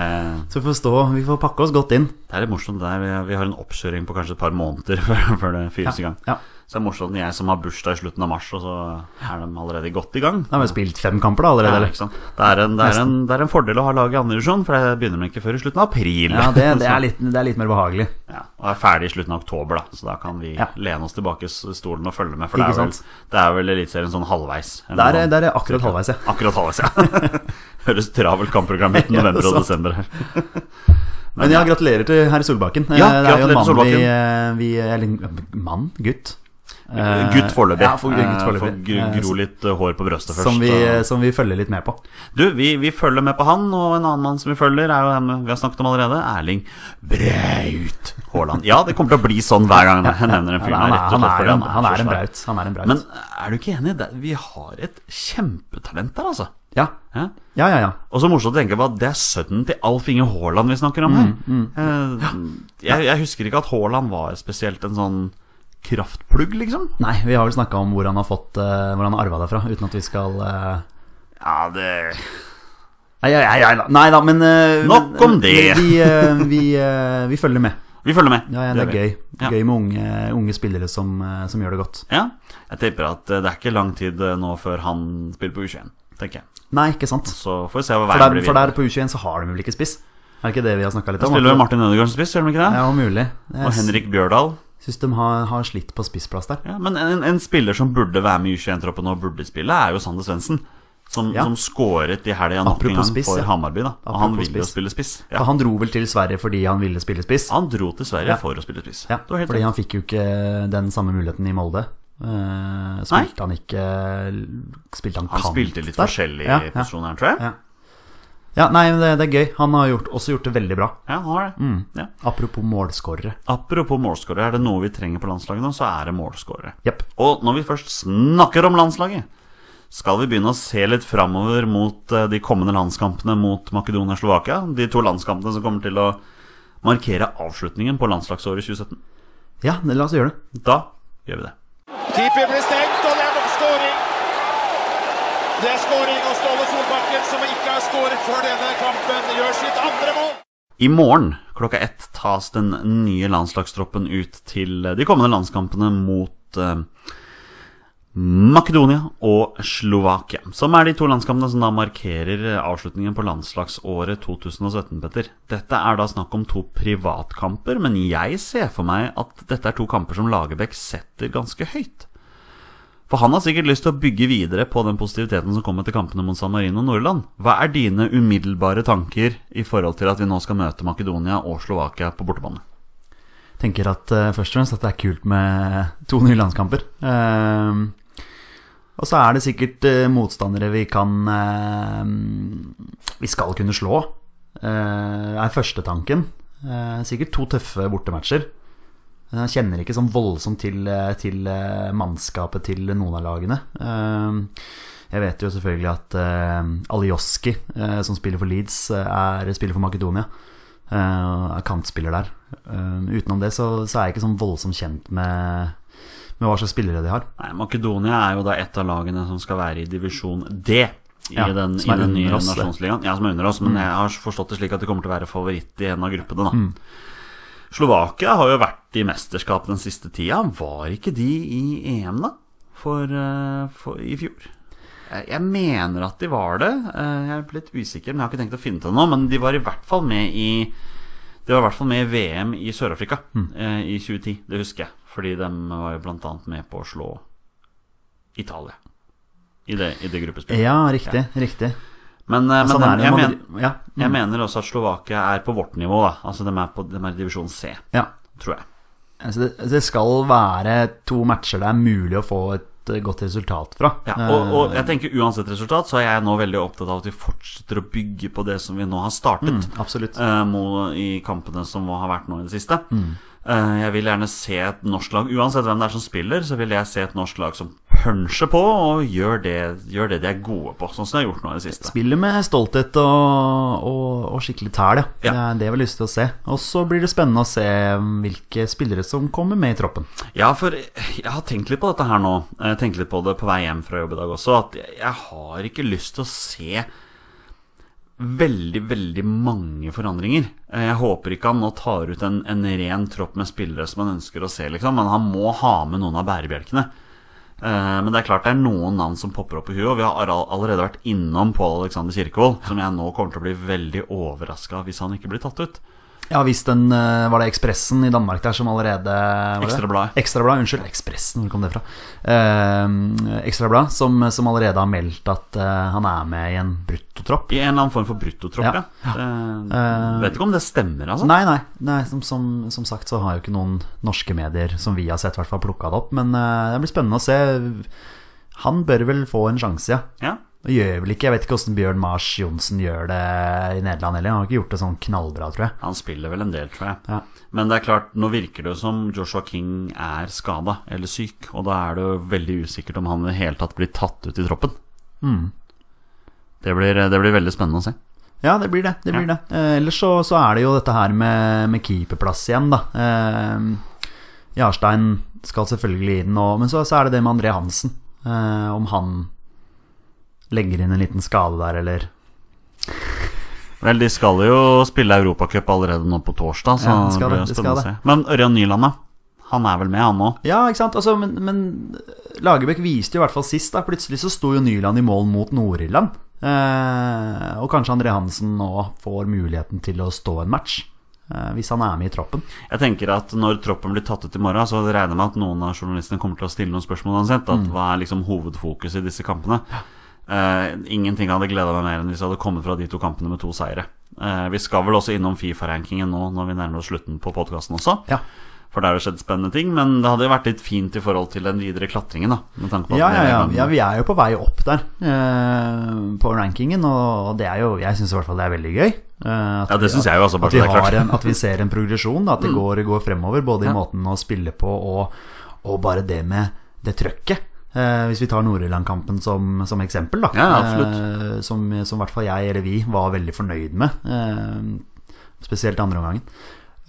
så vi får stå, vi får pakke oss godt inn. det er litt morsomt. Det er, vi- vi har en oppkjøring på kanskje et par måneder før, før det fyres i gang. Ja. Så det er morsomt når jeg som har bursdag i slutten av mars, og så er de allerede godt i gang. Da har vi spilt fem kamper da Ja, allerede, ikke eller? sant? Det, er en, det, er en, det er en fordel å ha laget i andre divisjon, for det begynner man ikke før i slutten av april. Ja, det, det, Så- er litt, det er litt mer behagelig. Ja, og er ferdig i slutten av oktober, da. Så da kan vi Ja. lene oss tilbake i stolen og følge med. For det Ikke er vel, sant? det er vel Eliteserien sånn halvveis. eller noe Der, er- sånt. der er akkurat halvveis, ja. Akkurat halvveis, ja. Høres travelt kampprogram ut Ja, november det er og sant. desember her. Men ja, gratulerer til herr Solbakken. Eh, Ja, det er jo gratulerer en mann til vi, eh, vi Eller en mann? Gutt? Eh, Gutt foreløpig. Ja, for, gutt Eh, foreløpig. Får gro, Eh, gro litt eh, hår på brøstet først. Som vi, eh, og- som vi følger litt med på. Du, vi, vi følger med på han, og en annen mann som vi følger, er jo den vi har snakket om allerede. Erling Braut Haaland. Ja, det kommer til å bli sånn hver gang jeg nevner en fyr. han, er, rett og han, slett fordi er, han, er, han er en forsvar. braut. Han er en braut. Men er du ikke enig? Det- Vi har et kjempetalent der, altså. ja. Ja? ja, ja, ja. Og så morsomt å tenke på at det er sønnen til Alf Inge Haaland vi snakker om her. Mm, Eh, Jeg, jeg husker ikke at Haaland var spesielt en sånn kraftplugg, liksom. Nei, vi har vel snakka om hvor han har fått eh, Hvor han har arva det fra, uten at vi skal eh, Ja, det Nei, nei, nei, nei, nei da, men eh, Nok men- om det. Vi, eh, vi, eh, vi følger med. Vi følger med. Ja, ja, det er gjør vi. gøy. Ja. Gøy med unge, unge spillere som, eh, som gjør det godt. Ja. Jeg tipper at eh, det er ikke lang tid eh, nå før han spiller på U21, tenker jeg. Nei, ikke sant? Så får vi se hva For veien der, blir for der videre. på U21 så har de vel ikke spiss? Er det ikke det vi har snakka litt om? Spiller jo At- Martin Ødegaard som spiss, gjør han ikke det? Ja, om mulig. Og Jeg Henrik Bjørdal. syns de har, har slitt på spissplass der. Ja, men en, en spiller som burde være med i U21-troppen og burde spille, er jo Sander Svendsen. Som, Ja. som skåret i helga nok en Apropos gang spiss, for ja. Hamarby. da Og han Apropos vil jo spiss. spille spiss. For Ja. Han dro vel til Sverige fordi han ville spille spiss? Han dro til Sverige Ja. for å spille spiss. Ja, Det var helt fordi rett. han fikk jo ikke den samme muligheten i Molde. Eh, spilte han ikke Spilte han han kant spilte litt der? forskjellig Ja, i ja. posisjoner, tror jeg. Ja. Ja, nei, men det, det er gøy. Han har gjort, også gjort det veldig bra. Ja, han har det. Mm. Ja. Apropos målskårere. Apropos målskårere, er det noe vi trenger på landslaget nå, så er det målskårere. Jepp. Og når vi først snakker om landslaget, skal vi begynne å se litt framover mot eh, de kommende landskampene mot Makedonia og Slovakia? De to landskampene som kommer til å markere avslutningen på landslagsåret 2017. Ja, la oss gjøre det. Da gjør vi det. Keeper blir stengt, og det er skåring. Det er skåring, og Ståle Solbakken, som ikke har skåret før denne kampen, gjør sitt andre mål. I morgen klokka ett tas den nye landslagstroppen ut til eh, de kommende landskampene mot eh, Makedonia og Slovakia. Som er de to landskampene som da markerer eh, avslutningen på landslagsåret 2017, Petter. Dette er da snakk om to privatkamper, men jeg ser for meg at dette er to kamper som Lagerbäck setter ganske høyt. For han har sikkert lyst til å bygge videre på den positiviteten som kom etter kampene mot San Marino og Nordland. Hva er dine umiddelbare tanker i forhold til at vi nå skal møte Makedonia og Slovakia på bortebane? tenker at eh, først og fremst at det er kult med to nye landskamper. Ehm, og så er det sikkert eh, motstandere vi kan eh, Vi skal kunne slå, eh, er første tanken. Eh, sikkert to tøffe bortematcher. Men Jeg kjenner ikke sånn voldsomt til, eh, til eh, mannskapet til noen av lagene. Ehm, jeg vet jo selvfølgelig at uh, Alioski, eh, som spiller for Leeds, eh, er spiller for Makedonia. Eh, er kantspiller der. Eh, utenom det så, så er jeg ikke sånn voldsomt kjent med, med hva slags spillere de har. Nei, Makedonia er jo da et av lagene som skal være i divisjon D. I Ja, den, i som er den nye under oss, det. Mm. nasjonsligaen. Ja, som er under oss, men jeg har forstått det slik at de kommer til å være favoritt i en av gruppene. da Slovakia har jo vært i mesterskap den siste tida. Var ikke de i EM, da? For, eh, for i fjor? Eh, Jeg mener at de var det. Eh, Jeg er litt usikker, men jeg har ikke tenkt å finne det nå. Men de var i hvert fall med i De var i hvert fall med i VM i Sør-Afrika Mm. eh, i 2010. Det husker jeg. Fordi de var jo blant annet med på å slå Italia i det, i det gruppespillet. Ja, riktig. riktig Men, eh, men Sånn er jeg, det. mener, Madrid- ja, mm, jeg mener også at Slovakia er på vårt nivå. Da. Altså de er, på, de er i divisjon C, ja. tror jeg. Altså, det, det skal være to matcher det er mulig å få et eh, godt resultat fra. Ja, og, og jeg tenker Uansett resultat så er jeg nå veldig opptatt av at vi fortsetter å bygge på det som vi nå har startet. Eh, Absolutt. eh, må- I kampene som har vært nå i det siste. Eh, Jeg vil gjerne se et norsk lag Uansett hvem det er som spiller, så vil jeg se et norsk lag som punchet på og gjør det, gjør det de er gode på, sånn som de har gjort nå i det siste. Spiller med stolthet og, og, og skikkelig tæl, ja. Ja. Det er det vi har lyst til å se. Og så blir det spennende å se mm, hvilke spillere som kommer med i troppen. Ja, for jeg har tenkt litt på dette her nå. Jeg tenkte litt på det på vei hjem fra jobb i dag også. At jeg- jeg har ikke lyst til å se veldig, veldig mange forandringer. Eh, Jeg håper ikke han nå tar ut en, en ren tropp med spillere som han ønsker å se, liksom. Men han må ha med noen av bærebjelkene. Eh, Men det er klart det er noen navn som popper opp i huet, og vi har all- allerede vært innom Pål Alexander Kirkevold, som jeg nå kommer til å bli veldig overraska hvis han ikke blir tatt ut. Ja, hvis den eh, Var det Ekspressen i Danmark der som allerede var det? Ekstrabladet. Ekstrabladet, unnskyld. Ekspressen, hvor kom det fra? Eh, Ekstrabladet, som, som allerede har meldt at eh, han er med i en bruttotropp. I en eller annen form for bruttotropp, ja. Ja. Eh, Vet ikke om det stemmer, altså. Nei, nei. nei som, som, som sagt så har jo ikke noen norske medier som vi har sett, i hvert fall plukka det opp. Men eh, det blir spennende å se. Han bør vel få en sjanse, ja. Ja. Det gjør vel ikke, Jeg vet ikke åssen Bjørn Mars Johnsen gjør det i Nederland heller. Han har ikke gjort det sånn knallbra, tror jeg. Han spiller vel en del, tror jeg. Ja. Men det er klart, nå virker det jo som Joshua King er skada eller syk, og da er det jo veldig usikkert om han i det hele tatt blir tatt ut i troppen. Mm. Det, blir, det blir veldig spennende å se. Ja, det blir det. det, blir Ja. det. Eh, ellers så, så er det jo dette her med, med keeperplass igjen, da. Eh, Jarstein skal selvfølgelig inn, og, men så, så er det det med André Hansen. Eh, om han legger inn en liten skade der, eller Vel, de skal jo spille Europacup allerede nå på torsdag, så Ja, de det skal blir det, jo de spennende å skal se. Men Ørjan Nyland, da? Han er vel med, han òg? Ja, ikke sant? Altså, men, men Lagerbäck viste jo i hvert fall sist. da Plutselig så sto jo Nyland i mål mot Nord-Irland. Eh, og kanskje André Hansen nå får muligheten til å stå en match. Eh, hvis han er med i troppen. Jeg tenker at når troppen blir tatt ut i morgen, så regner jeg med at noen av journalistene kommer til å stille noen spørsmål uansett. At Mm. hva er liksom hovedfokuset i disse kampene? Eh, ingenting hadde gleda meg mer enn hvis jeg hadde kommet fra de to kampene med to seire. Eh, vi skal vel også innom Fifa-rankingen nå når vi nærmer oss slutten på podkasten også. Ja. For der har det skjedd spennende ting, men det hadde jo vært litt fint i forhold til den videre klatringen, da. Med tanke på at Ja, ja, det- ja. ja, vi er jo på vei opp der eh, på rankingen, og det er jo Jeg syns i hvert fall det er veldig gøy. eh, at Ja, det vi- synes jeg jo også, bare så At altså det vi, er klart. har en, at vi ser en progresjon, da, at Mm. det går, går fremover, både i måten å spille på og, og bare det med det trøkket. Eh, hvis vi tar Nord-Irland-kampen som, som eksempel, da. Ja, absolutt. eh, som som i hvert fall jeg eller vi var veldig fornøyd med. Eh, spesielt andre omgangen.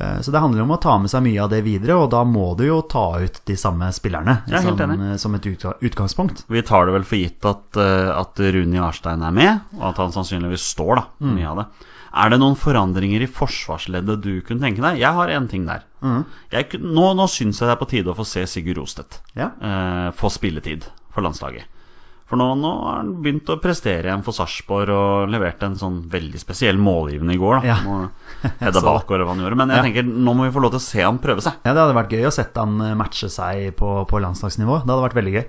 Eh, Så det handler om å ta med seg mye av det videre, og da må du jo ta ut de samme spillerne Jeg er helt som, enig. som et utga- utgangspunkt. Vi tar det vel for gitt at, eh, at Rune Jarstein er med, og at han sannsynligvis står, da. Mm. Mye av det. Er det noen forandringer i forsvarsleddet du kunne tenke deg? Jeg har én ting der. Mm. Jeg, kun- nå nå syns jeg det er på tide å få se Sigurd Rostedt Ja. eh, få spilletid for landslaget. For nå, nå har han begynt å prestere igjen for Sarpsborg og leverte en sånn veldig spesiell målgivende i går. da Ja. Nå Jeg Hedda så det. Bakgård og hva han gjorde. Men jeg tenker, nå må vi få lov til å se han prøve seg. Ja, Det hadde vært gøy å sette han eh, matche seg på, på landslagsnivå. Det hadde vært veldig gøy.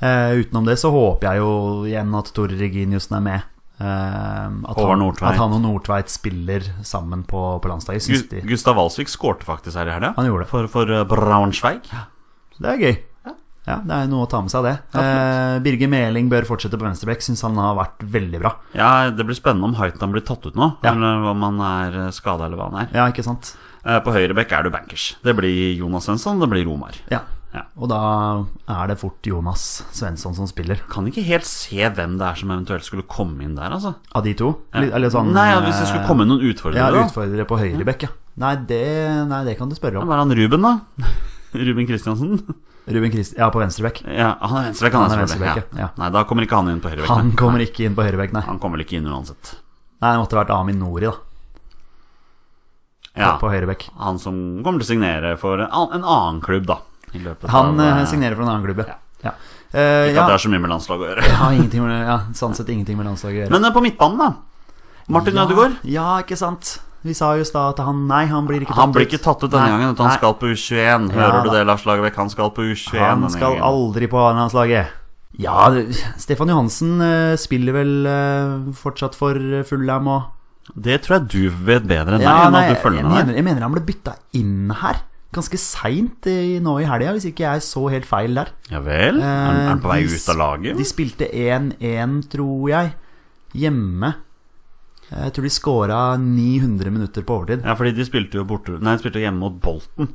Eh, utenom det så håper jeg jo igjen at Tore Reginiussen er med. Eh, at, Håvard han, Nordtveit. at han og Nordtveit spiller sammen på, på landslaget. Synes Gu- de. Gustav Walsvik skårte faktisk her i helga. Han gjorde det. For, for eh, Braunschweig. Det er gøy. Ja, Det er noe å ta med seg, det. Eh, Birger Meling bør fortsette på venstreback. Syns han har vært veldig bra. Ja, Det blir spennende om Haitan blir tatt ut nå, Ja. eller om han er skada eller hva han er. Ja, ikke sant? Eh, På høyre bekk er du bankers. Det blir Jonas Svensson, det blir Romar. Ja. Ja. Og da er det fort Jonas Svensson som spiller. Kan ikke helt se hvem det er som eventuelt skulle komme inn der, altså. Av de to? Litt- Eller sånn eh, Nei, ja, Hvis det skulle komme noen Ja, utfordrere, da. utfordrere på høyrebekk, ja. Nei det, nei, det kan du spørre om. Hva er han Ruben, da? Ruben Kristiansen? Ruben Christ... Ja, på venstrebekk. Ja, han er venstrebekk, han, Han er er selvfølgelig. venstrebekk, Ja. ja. Nei, da kommer ikke han inn på høyrebekk. Han nei. kommer ikke inn på høyrebekk, nei. han kommer vel ikke inn uansett. Nei, Det måtte vært Amin Nori, da. Ja, På høyrebekk. Han som kommer til å signere for en an- en annen klubb, da. I løpet Han av, eh, eh, signerer for en annen klubb, ja. ja. Eh, Ikke ja. at det er så mye med landslaget å gjøre. ja, ingenting med, ja sånn sett ingenting med landslaget å gjøre. Men eh, på midtbanen, da. Martin Ødegaard. Ja, ja, ikke sant. Vi sa jo i stad at han Nei, han blir ikke tatt Han blir ikke tatt ut denne Nei, gangen, uten han nei. skal på U21. Hører Ja, du da. det, Lars Lagerbäck? Han skal på U21. Han denne skal gangen. aldri på landslaget. Ja, det- Stefan Johansen eh, spiller vel eh, fortsatt for eh, Fulham og Det tror jeg du vet bedre enn meg. Ja, nei, enn at du jeg, følger med mener, jeg mener han ble bytta inn her ganske seint eh, nå i helga, hvis ikke jeg så helt feil der. der. Ja vel? Er han- er han på vei Eh, de ut av laget? De spilte 1-1, tror jeg, hjemme. Jeg tror de scora 900 minutter på overtid. Ja, fordi de spilte jo borte Nei, de spilte jo hjemme mot Bolten.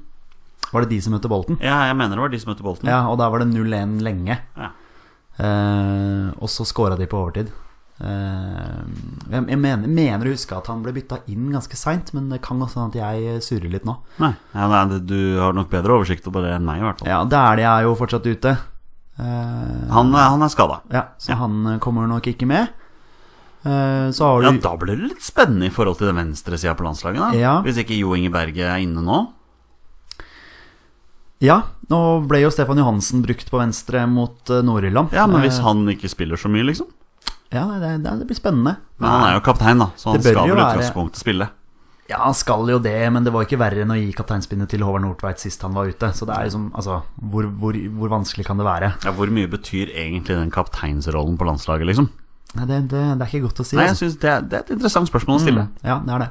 Var det de som møtte Bolten? Ja, jeg mener det var de som møtte Bolten. Ja, og der var det 0-1 lenge. Mm. Ja. Eh, og så scora de på overtid. Eh, jeg jeg mener, mener å huske at han ble bytta inn ganske seint, men det kan også hende at jeg surrer litt nå. Nei, ja, nei, det- du har nok bedre oversikt over det enn meg, i hvert fall. Ja, Dæhlie er jo fortsatt ute. Eh, Han, eh, han er skada. ja, så Ja. han kommer nok ikke med. Eh, så har Ja, du da blir det litt spennende i forhold til den venstre sida på landslaget, da. Ja. Hvis ikke Jo Inge Berge er inne nå. Ja, nå ble jo Stefan Johansen brukt på venstre mot eh, Nord-Irland. Ja, men hvis Eh, han ikke spiller så mye, liksom. ja, det, det, det blir spennende. Men han er jo kaptein, da, så han Det bør skal jo vel i være- utgangspunktet spille. Ja, han skal jo det, men det var ikke verre enn å gi kapteinspinnet til Håvard Nordtveit sist han var ute. Så det er liksom, altså, hvor, hvor, hvor vanskelig kan det være? Ja, Hvor mye betyr egentlig den kapteinsrollen på landslaget, liksom? Nei, det, det, det er ikke godt å si. Nei, jeg altså. Mm. synes det, er, det er et interessant spørsmål å stille. Ja, det er det.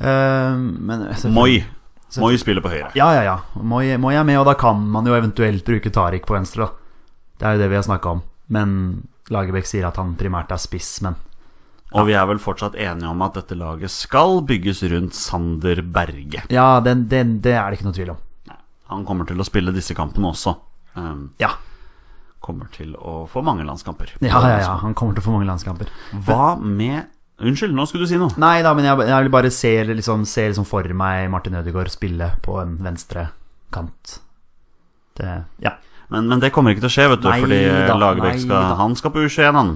Eh, men Moi. Moi spiller på høyre. Ja, ja, ja. Moi, Moi er med, og da kan man jo eventuelt bruke Tariq på venstre, da. Det er jo det vi har snakka om. Men Lagerbäck sier at han primært er spiss, men Og vi er vel fortsatt enige om at dette laget skal bygges rundt Sander Berge. Ja, den, den, det er det ikke noe tvil om. Han kommer til å spille disse kampene også. Um, Ja. kommer til å få mange landskamper. Ja, ja, ja. Han kommer til å få mange landskamper. Hva med Unnskyld, nå skulle du si noe. Nei da, men jeg, jeg vil bare ser, liksom, ser liksom for meg Martin Ødegaard spille på en venstre kant. Det, ja. Men, men det kommer ikke til å skje, vet du, Nei fordi da, Lagerbäck nei skal da. Han skal på U21, han.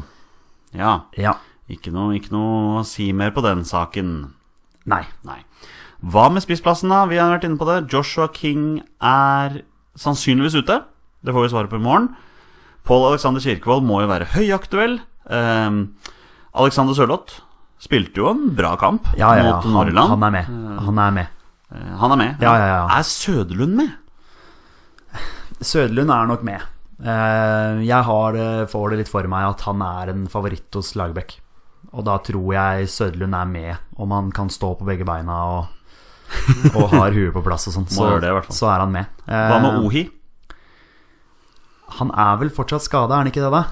Ja. ja. Ikke noe, ikke noe å si mer på den saken. Nei. Nei. Hva med spissplassen, da? Vi har vært inne på det. Joshua King er sannsynligvis ute. Det får vi svaret på i morgen. Pål Alexander Kirkevold må jo være høyaktuell. Eh, Alexander Sørloth spilte jo en bra kamp Ja, ja, ja. mot Han, Nordirland. han er med. Han er med. Eh, han er med. Ja, ja, ja. Er Søderlund med? Søderlund er nok med. Eh, Jeg har, det- får det litt for meg at han er en favoritt hos Lagerbäck. Og da tror jeg Søderlund er med, om han kan stå på begge beina og, og har huet på plass og sånn. Så, gjøre det, i hvert fall. så er han med. Hva med Eh, Ohi? Han er vel fortsatt skada, er han ikke det, da?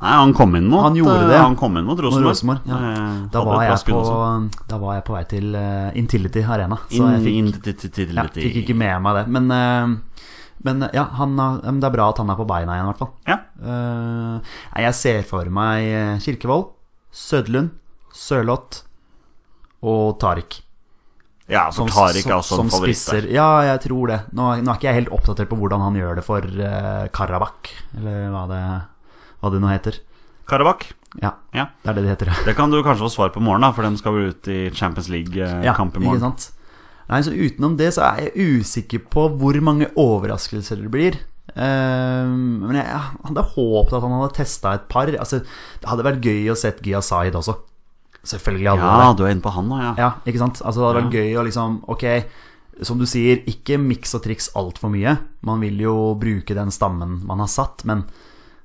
Nei, han kom inn mot Han gjorde det. eh, Han kom inn mot Mot Rosenborg. Rosenborg, ja. Eh, Da hadde var, et bra jeg skudd på, også. da var jeg på vei til eh, Intility Arena. Så jeg fikk, Inn- ja, fikk ikke med meg det. Men, eh, men ja, han, har- men det er bra at han er på beina igjen, i hvert fall. Ja. Eh, nei, jeg ser for meg eh, Kirkevold, Sødlund, Sørloth og Tariq. ja, så Tariq er også som en favoritt. der. spisser. Ja, jeg tror det. Nå, nå er ikke jeg helt oppdatert på hvordan han gjør det for eh, Karabakh, eller hva det, hva det nå heter. Karabakh. Ja, Ja. det er det det heter. Det kan du kanskje få svar på i morgen, da, for de skal vel ut i Champions League-kamp eh, i ikke morgen. sant? Nei, så utenom det så er jeg usikker på hvor mange overraskelser det blir. Ehm, men jeg, jeg hadde håpet at han hadde testa et par. Altså, det hadde vært gøy å sett Gia Zaid også. Selvfølgelig hadde det Ja, det. du er inne på han nå, ja. Ja, ikke sant? Altså, det hadde vært gøy å liksom Ok, som du sier, ikke miks og triks altfor mye. Man vil jo bruke den stammen man har satt, men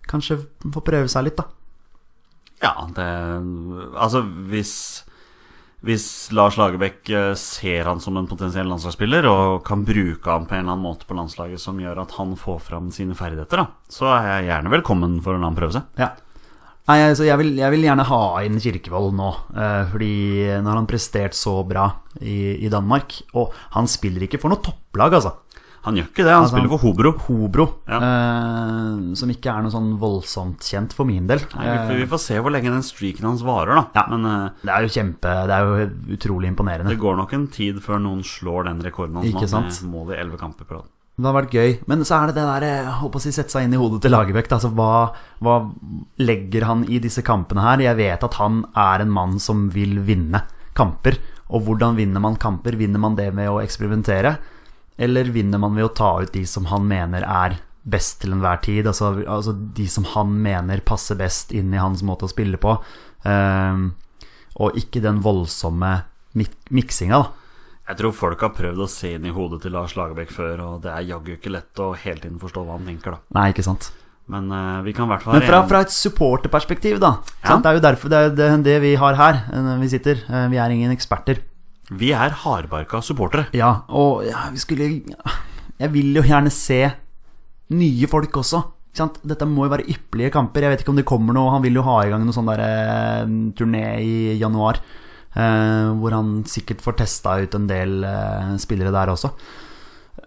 kanskje få prøve seg litt, da. Ja, det Altså, hvis hvis Lars Lagerbäck eh, ser han som en potensiell landslagsspiller og kan bruke han på en eller annen måte på landslaget som gjør at han får fram sine ferdigheter, da, så er jeg gjerne velkommen for å la han prøve seg. Ja. Nei, altså, jeg, vil, jeg vil gjerne ha inn Kirkevold nå. eh, fordi nå har han prestert så bra i, i Danmark. Og han spiller ikke for noe topplag, altså. Han gjør ikke det, han Altså, spiller for Hobro. Hobro. Ja. eh, som ikke er noe sånn voldsomt kjent for min del. Nei, vi, får- Eh, vi får se hvor lenge den streaken hans varer, da. Ja. Men eh, det er jo kjempe Det er jo utrolig imponerende. det går nok en tid før noen slår den rekorden hans Ikke nå, med sant? mål i elleve kamper på rad. Det har vært gøy. Men så er det det der eh, Holdt på å si sette seg inn i hodet til Lagerbäck. da. Altså, hva, hva legger han i disse kampene her? Jeg vet at han er en mann som vil vinne kamper. Og hvordan vinner man kamper? Vinner man det med å eksperimentere? Eller vinner man ved å ta ut de som han mener er best til enhver tid? Altså, altså de som han mener passer best inn i hans måte å spille på. Ehm, og ikke den voldsomme mik miksinga, da. Jeg tror folk har prøvd å se inn i hodet til Lars Lagerbäck før, og det er jaggu ikke lett å hele tiden forstå hva han tenker, da. Nei, ikke sant. Men eh, vi kan i hvert fall Men være fra, enige- fra et supporterperspektiv, da. Ja. Sant? Det er jo derfor det, er jo det, det vi har her eh, når vi sitter. Eh, Vi er ingen eksperter. Vi er hardbarka supportere. Ja, og ja, vi skulle Jeg vil jo gjerne se nye folk også. Ikke sant? Dette må jo være ypperlige kamper. Jeg vet ikke om det kommer noe Han vil jo ha i gang noe sånn der, eh, turné i januar. eh, hvor han sikkert får testa ut en del eh, spillere der også.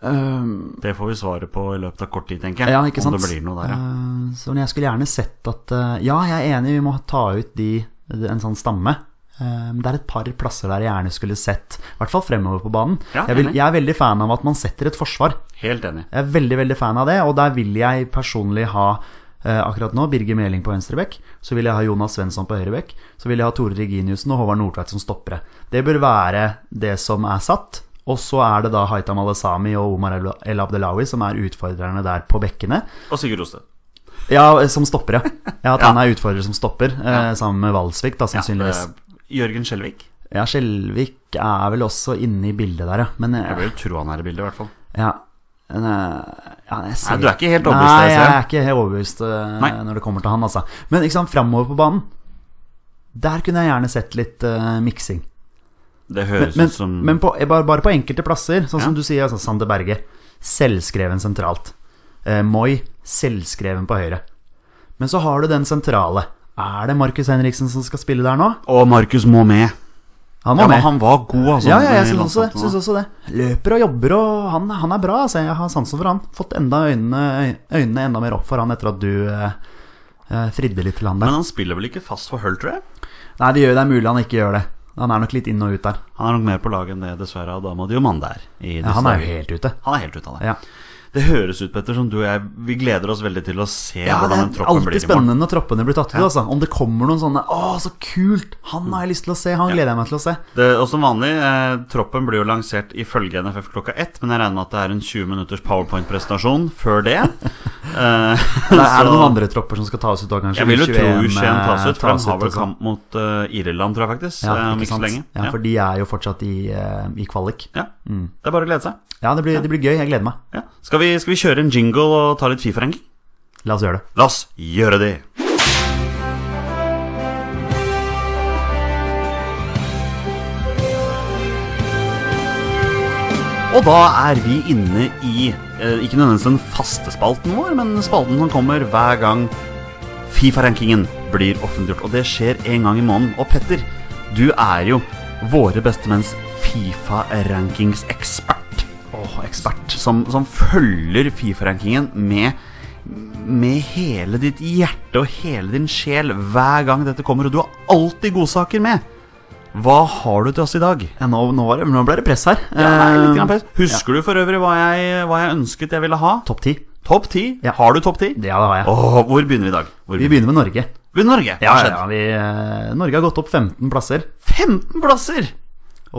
Ehm, Det får vi svaret på i løpet av kort tid, tenker jeg. ja, ikke sant? Om det blir noe der, ja. Eh, så jeg skulle gjerne sett at eh, Ja, jeg er enig, vi må ta ut de, en sånn stamme. Eh, Men det er et par plasser der jeg gjerne skulle sett, i hvert fall fremover på banen. Ja, jeg, vil, enig. jeg er veldig fan av at man setter et forsvar. Helt enig. Jeg er veldig, veldig fan av det, og der vil jeg personlig ha eh, akkurat nå Birger Meling på venstrebekk, så vil jeg ha Jonas Svensson på høyrebekk, så vil jeg ha Tore Reginiussen og Håvard Nordtveit som stoppere. Det bør være det som er satt, og så er det da Haitam Alesami og Omar El- El Abdelawi som er utfordrerne der på bekkene. Og Sigurd Rosted. Ja, som stoppere. Ja, at Ja. han er utfordrer som stopper, eh, sammen med Valsvik, da, Ja, sannsynligvis. eh, Jørgen Skjelvik. Ja, Skjelvik er vel også inne i bildet der, ja. Men Jeg eh, vil jo tro han er i bildet, i hvert fall. ja. Men, eh, ja, jeg ser Nei, du er ikke helt overbevist, jeg Nei, jeg ser. er ikke helt overbevist eh, Nei. når det kommer til han, altså. Men ikke sant, framover på banen Der kunne jeg gjerne sett litt eh, miksing. Det høres Men, ut Sånn som men på, eh, bare, bare på enkelte plasser, sånn Ja. som du sier, altså Sander Berge. Selvskreven sentralt. Eh, Moi, selvskreven på høyre. Men så har du den sentrale. Er det Markus Henriksen som skal spille der nå? Og Markus må med. Han Ja, var men med. han var god, altså. ja, ja, jeg i syns også, det, landslaget nå. syns også det. Løper og jobber, og han, han er bra. Altså. Jeg har sansen for han. Fått enda øynene, øynene enda mer opp for han etter at du eh, eh, fridde litt til han der. Men han spiller vel ikke fast for Hull, tror jeg? Nei, det, gjør, det er mulig han ikke gjør det. Han er nok litt inn og ut der. Han er nok mer på laget enn det, dessverre, og da må Diomande er. i Ja, disse- han er jo helt ute. han er helt ute av det. Ja. Det høres ut, Petter, som du og jeg Vi gleder oss veldig til å se Ja, hvordan det den er troppen blir i alltid morgen. spennende når troppene blir tatt ut. Altså. Om det kommer noen sånne 'Å, så kult! Han har jeg lyst til å se! Han gleder jeg meg til å se!' Det, og som vanlig, eh, troppen blir jo lansert ifølge NFF klokka ett, men jeg regner med at det er en 20 minutters powerpoint-presentasjon før det. Eh, Det er det så- noen andre eh, tropper som skal tas ut da, kanskje? Jeg vil jo tro 21, Skien tas ut, for tas de har ut vel og sånn. kamp mot eh, Irland, tror jeg faktisk. Ja, eh, om ikke ikke så sant? lenge. Ja, Mm. for de er jo fortsatt i, eh, i kvalik. Ja. Det er bare å glede seg. Ja, det blir, det blir gøy. Jeg gleder meg. Ja. Skal, vi, skal vi kjøre en jingle og ta litt Fifa-ranking? La oss gjøre det. La oss gjøre det! Og da er vi inne i eh, ikke nødvendigvis den faste spalten vår, men spalten som kommer hver gang Fifa-rankingen blir offentliggjort. Og det skjer en gang i måneden. Og Petter, du er jo våre bestemenns Fifa-rankingsekspert. Åh, ekspert. Som, som følger Fifa-rankingen med med hele ditt hjerte og hele din sjel hver gang dette kommer, og du har alltid godsaker med. Hva har du til oss i dag? Um, Ja, nå, nå, var det, nå ble det press her. Ja, det er litt grann Eh, press. Husker du for øvrig hva jeg, hva jeg ønsket jeg ville ha? Topp ti. Topp ti? Ja. Har du topp ti? Ja, det har jeg. Åh, hvor begynner vi i dag? Hvor Vi begynner vi? begynner med Norge. Begynner Norge. Hva har Ja, ja, skjedd? ja, vi, eh, Norge har gått opp 15 plasser, 15 plasser!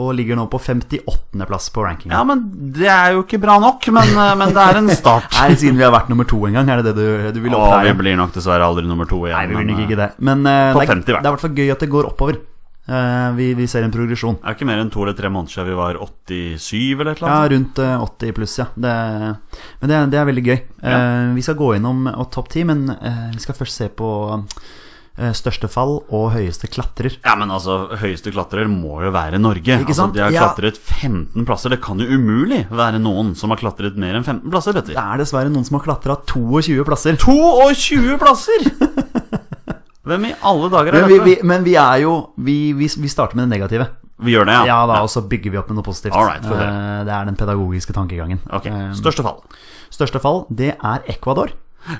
og ligger nå på 58. plass på rankingen. Ja, men det er jo ikke bra nok, men, eh, men det er en start. Nei, siden vi har vært nummer to en gang, er det det du, du vil opp Åh, der? vi blir nok dessverre aldri nummer to igjen. Nei, vi vil men, nok eh, ikke det. Men eh, Topp 50 i det, er, hvert det er i hvert fall gøy at det går oppover. Eh, vi, vi ser en progresjon. eh, Er det ikke mer enn to eller tre måneder siden vi var 87 eller et eller Ja, annet? rundt eh, 80 pluss, ja. Det, men det, det er veldig gøy. Eh, vi skal gå innom eh, topp 10, men eh, vi skal først se på eh, største fall og høyeste klatrer. Ja, men altså, høyeste klatrer må jo være Norge. Ikke sant? Altså, de har Ja. klatret 15 plasser. Det kan jo umulig være noen som har klatret mer enn 15 plasser, Det Petter. er dessverre noen som har klatra 22 plasser. 22 plasser! Hvem i alle dager Men er vi, dette? vi, men vi er jo Vi, vi, vi starter med det negative. Vi gjør det, Ja, ja. da, Og så bygger vi opp med noe positivt. All right, få høre. Eh, det er den pedagogiske tankegangen. Ok, Eh, Største fall. største fall, det er Ecuador.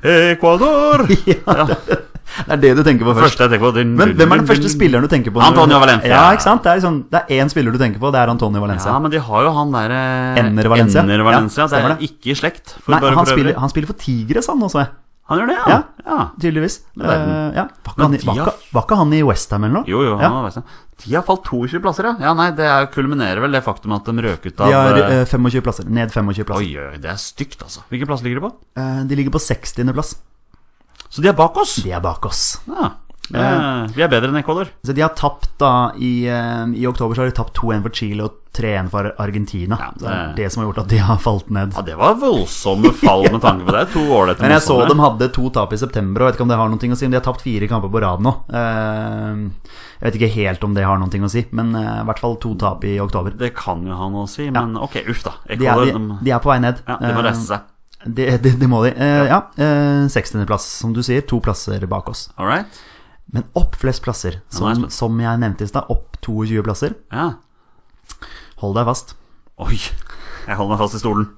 Ecuador! ja, det, det er det du tenker på først. Første jeg tenker på din- Men hvem er den første spilleren du tenker på? når- Antonio Valencia. Ja, ikke sant? Det er, liksom, det er én spiller du tenker på, det er Antonio Valencia. Ja, men de har jo han derre Enner Valencia. Enner Valencia. Ja, det stemmer er det. ikke i slekt. for Nei, bare han for øvrig. spiller, han spiller for Tigres, han også, jeg. han gjør det, ja. Ja. ja. tydeligvis. Men verden. Eh, ja. var, ikke Men han, i- de var, har- ikke, var ikke han i Westham eller noe? Jo, jo, han ja. var best. De har falt 22 plasser, ja. ja nei, det er, kulminerer vel det faktum at de røk ut av De har eh, eh, 25 plasser. Ned 25 plasser. Oi, oi, oi, det er stygt, altså. Hvilken plass ligger de på? Eh, de ligger på 60. plass. Så de er bak oss. De er bak oss. Ja. Eh, vi er bedre enn Ecuador. Så de har tapt da I, eh, i oktober så har de tapt 2-1 for Chile og 3-1 for Argentina. Ja, det... er det- det som har gjort at de har falt ned. Ja, det var voldsomme fall med tanke på det. To ålreite Men jeg så motstandere. de hadde to tap i september, og jeg vet ikke om det har noe å si. Men de har tapt fire kamper på rad nå. Eh, Jeg vet ikke helt om det har noe å si, men eh, i hvert fall to tap i oktober. Det kan jo ha noe å si, men ok, uff da. De er, Ecuador, de, de, de er på vei ned. ja, de må reise seg. Eh, Det det- det må de. Eh, Ja. eh, 60. plass, som du sier. To plasser bak oss. All right? Men opp flest plasser, nå er jeg som, spent. som jeg nevnte i stad. Opp 22 plasser. Ja. Hold deg fast. Oi. Jeg holder meg fast i stolen.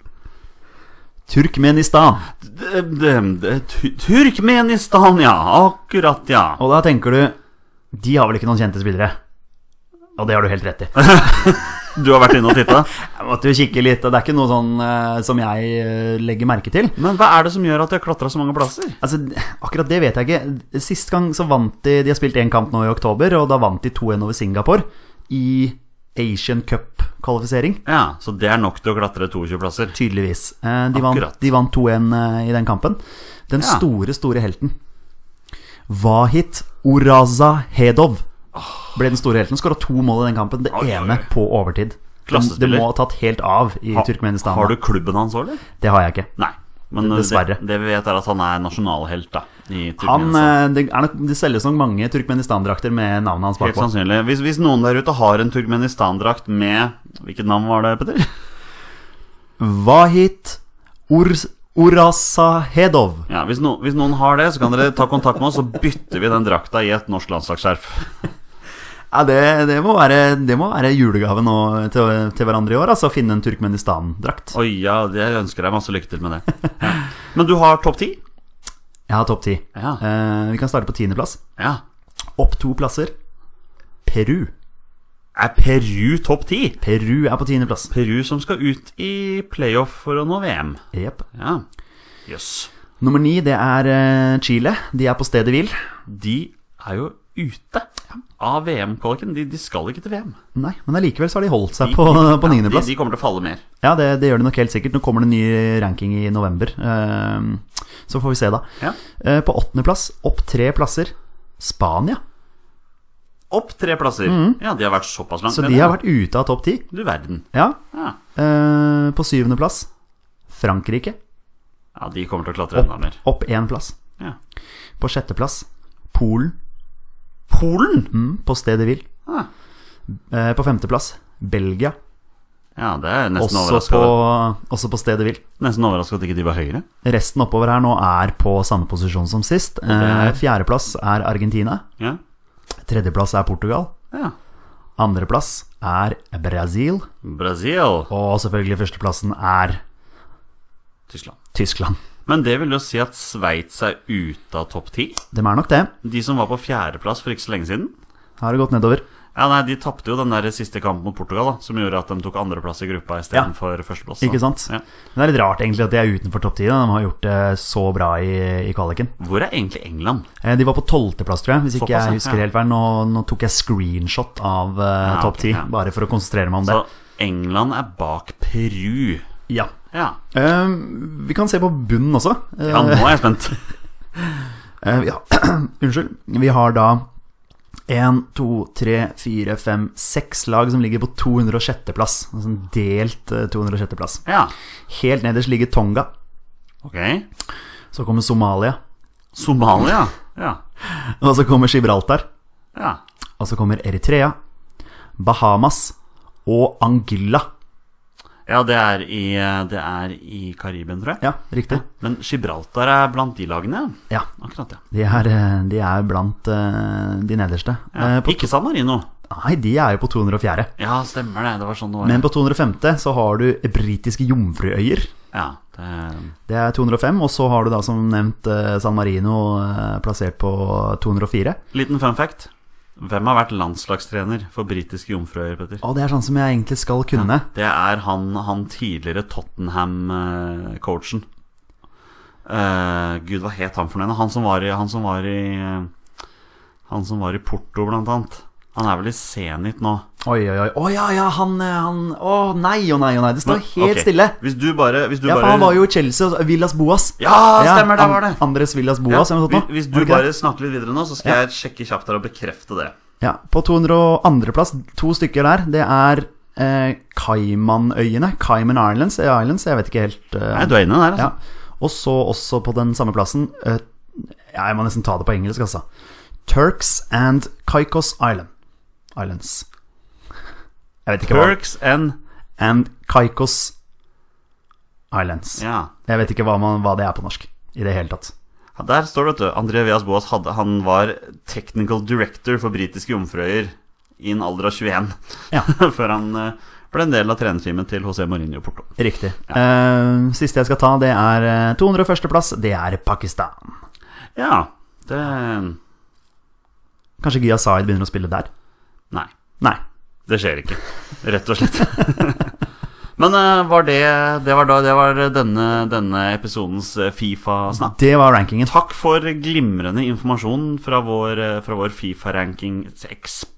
Turkmenistan. Det- det- det- Ty- Turkmenistan, ja. Akkurat, ja. Og da tenker du De har vel ikke noen kjente spillere? Og det har du helt rett i. Du har vært inne og titta. Jeg måtte jo kikke litt, og det er ikke noe sånn eh, som jeg eh, legger merke til. Men hva er det som gjør at de har klatra så mange plasser? Altså, akkurat det vet jeg ikke. Sist gang så vant de De har spilt én kamp nå i oktober, og da vant de 2-1 over Singapore i Asian Cup-kvalifisering. Ja, Så det er nok til å klatre 22 plasser. Tydeligvis. Eh, De vant, Akkurat. de vant 2-1 eh, i den kampen. Den Ja. store, store helten Vahit Oraza Hedov ble den store helten. Skåra to mål i den kampen, det Oi, oi, ene oi. på overtid. Det, det Klassespiller. må ha tatt helt av i Ha- Turkmenistan. Har da. du klubben hans òg, eller? Det har jeg ikke. Nei. Men eh, Dessverre. Det, det vi vet, er at han er nasjonalhelt, da. I Han, Turkmenistan. eh, det, er nok, det selges nok mange Turkmenistan-drakter med navnet hans Helt bakpå. sannsynlig. Hvis, hvis noen der ute har en Turkmenistan-drakt med Hvilket navn var det, Petter? Vahit Urs Urasahedov. Ja, hvis, no, hvis noen har det, så kan dere ta kontakt med oss, så bytter vi den drakta i et norsk landslagsskjerf. Ja, det, det, må være, det må være julegave nå til, til hverandre i år, altså. Finne en Turkmenistan-drakt. Oi, ja, jeg ønsker deg masse lykke til med det. Ja. Men du har topp ti? Jeg har topp ti. Ja. Eh, vi kan starte på tiendeplass. Ja. Opp to plasser. Peru. Er Peru topp ti? Peru er på tiendeplass. Peru som skal ut i playoff for å nå VM. Jep. Ja. Jøss. Nummer ni, det er eh, Chile. De er på stedet hvil. De er jo ute av VM-kvaliken. De, de skal ikke til VM. Nei, men allikevel så har de holdt seg De- på, Ja, på niendeplass. De, de kommer til å falle mer. Ja, det, det gjør det nok helt sikkert. Nå kommer det en ny ranking i november. Ehm, Så får vi se, da. Ja. Eh, På åttendeplass, opp tre plasser, Spania. Opp tre plasser. Ja, de har vært såpass langt. Mhm. Så de nede. har vært ute av topp ti. Du verden. Ja. Ja. Eh, På syvendeplass, Frankrike. ja, de kommer til å klatre enda Opp, mer. opp én plass. Ja. På sjetteplass, Polen. Polen! Mm, På stedet hvil. Ah. Eh, På femteplass, Belgia. Ja, det er nesten Også overraska. på, også på stedet hvil. Nesten overraska at ikke de var høyere. Resten oppover her nå er på samme posisjon som sist. Eh, Fjerdeplass er Argentina. Ja. Tredjeplass er Portugal. ja. Andreplass er Brasil. Brasil. Og selvfølgelig førsteplassen er Tyskland. Tyskland. Men det vil jo si at Sveits er ute av topp ti? Dem er nok det. De som var på fjerdeplass for ikke så lenge siden? Her har det gått nedover. Ja, nei, De tapte jo den der siste kampen mot Portugal, da, som gjorde at de tok andreplass i gruppa istedenfor førsteplass. da. Ikke sant? Ja. Det er litt rart egentlig at de er utenfor topp ti. da. De har gjort det så bra i, i kvaliken. Hvor er egentlig England? Eh, De var på tolvteplass, tror jeg, hvis ikke Såpass, ja. jeg husker Ja. helt feil. Nå, nå tok jeg screenshot av eh, Ja, topp ok, ti, ja. bare for å konsentrere meg om det. Så England er bak Peru. Ja. Ja, Eh, vi kan se på bunnen også. Eh, ja nå er jeg spent. Eh, ja. Unnskyld. Vi har da én, to, tre, fire, fem, seks lag som ligger på 206.-plass. Altså en delt eh, 206.-plass. Ja, Helt nederst ligger Tonga. ok. Så kommer Somalia. Somalia. Ja. Og så kommer Gibraltar. ja. Og så kommer Eritrea, Bahamas og Anguilla. Ja, det er i, det er i Karibien, tror jeg. Ja, riktig. Men Gibraltar er blant de lagene. Ja, Akkurat, ja. De er, eh, de er blant eh, de nederste. Eh, ja. På, Ikke San Marino. nei, de er jo på 204. Ja, stemmer det. Det var sånn det var. Men på 205. så har du Britiske Jomfruøyer. Ja, det... Det er 205, og så har du da som nevnt eh, San Marino eh, plassert på 204. Liten fun fact. Hvem har vært landslagstrener for britiske jomfruøyer, Petter? Og det er sånn som jeg egentlig skal kunne. Det er han, han tidligere Tottenham-coachen. Eh, Gud, hva het han for noe? Han som var i Han som var i, eh, han som var i Porto, blant annet. Han er vel i Zenit nå. Oi, oi, oi. Å ja, ja, han, eh, han Å nei, å nei, å nei. Det står helt Ok, stille. Hvis du bare, hvis du Ja, for bare han var jo i Chelsea. og- Villas Boas. Ja, stemmer, det An- var det. Andres Villas Ja, Boas. eller noe sånt hvis- nå. Hvis du Var det ikke bare det? snakker litt videre nå, så skal jeg sjekke kjapt her og bekrefte det. Ja, På 202.-plass, to stykker der, det er eh, Caymanøyene. Cayman Islands, eh, Islands, jeg vet ikke helt eh, Nei, du er inne der, Ja. altså. Og så også på den samme plassen eh, ja, Jeg må nesten ta det på engelsk, altså. Turks and Caicos Island. Islands. Jeg vet ikke hva Perks and And Caicos Islands. Ja. Jeg vet ikke hva, man, hva det er på norsk i det hele tatt. Ja, Der står det, vet du. André Vias Boas hadde, han var technical director for britiske jomfrøyer i en alder av 21. Ja. Før han eh, Ble en del av trenerteamet til José Mourinho i Porto. Riktig. Eh, siste jeg skal ta, det er eh, 201.-plass. Det er Pakistan. Ja, det Kanskje Gya Zaid begynner å spille der? Nei. Nei. Det skjer ikke, rett og slett. Men eh, var det Det var, da, det var denne, denne episodens eh, Fifa-snakk. Det var rankingen. Takk for glimrende informasjon fra vår, eh, fra vår Fifa-ranking-ekspert.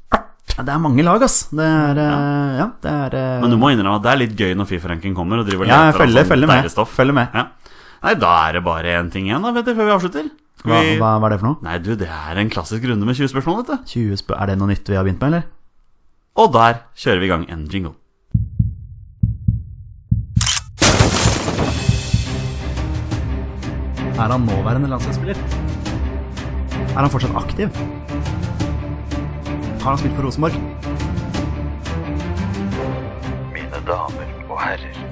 Det er mange lag, ass. Det er eh, Ja, det er eh, Men du må innrømme at det er litt gøy når Fifa-ranking kommer. Og driver og Ja, leter jeg følger, sånn følger deilig med. Stoff. Følger med. Ja. Nei, da er det bare én ting igjen da, vet du, før vi avslutter. Skal Hva, vi- hva, hva er det for noe? Nei, du, det er en klassisk runde med 20 spørsmål, dette. 20 sp er det noe nytt vi har begynt med, eller? Og der kjører vi i gang en jingle. Er han nåværende landslagsspiller? Er han fortsatt aktiv? Har han spilt for Rosenborg? Mine damer og herrer,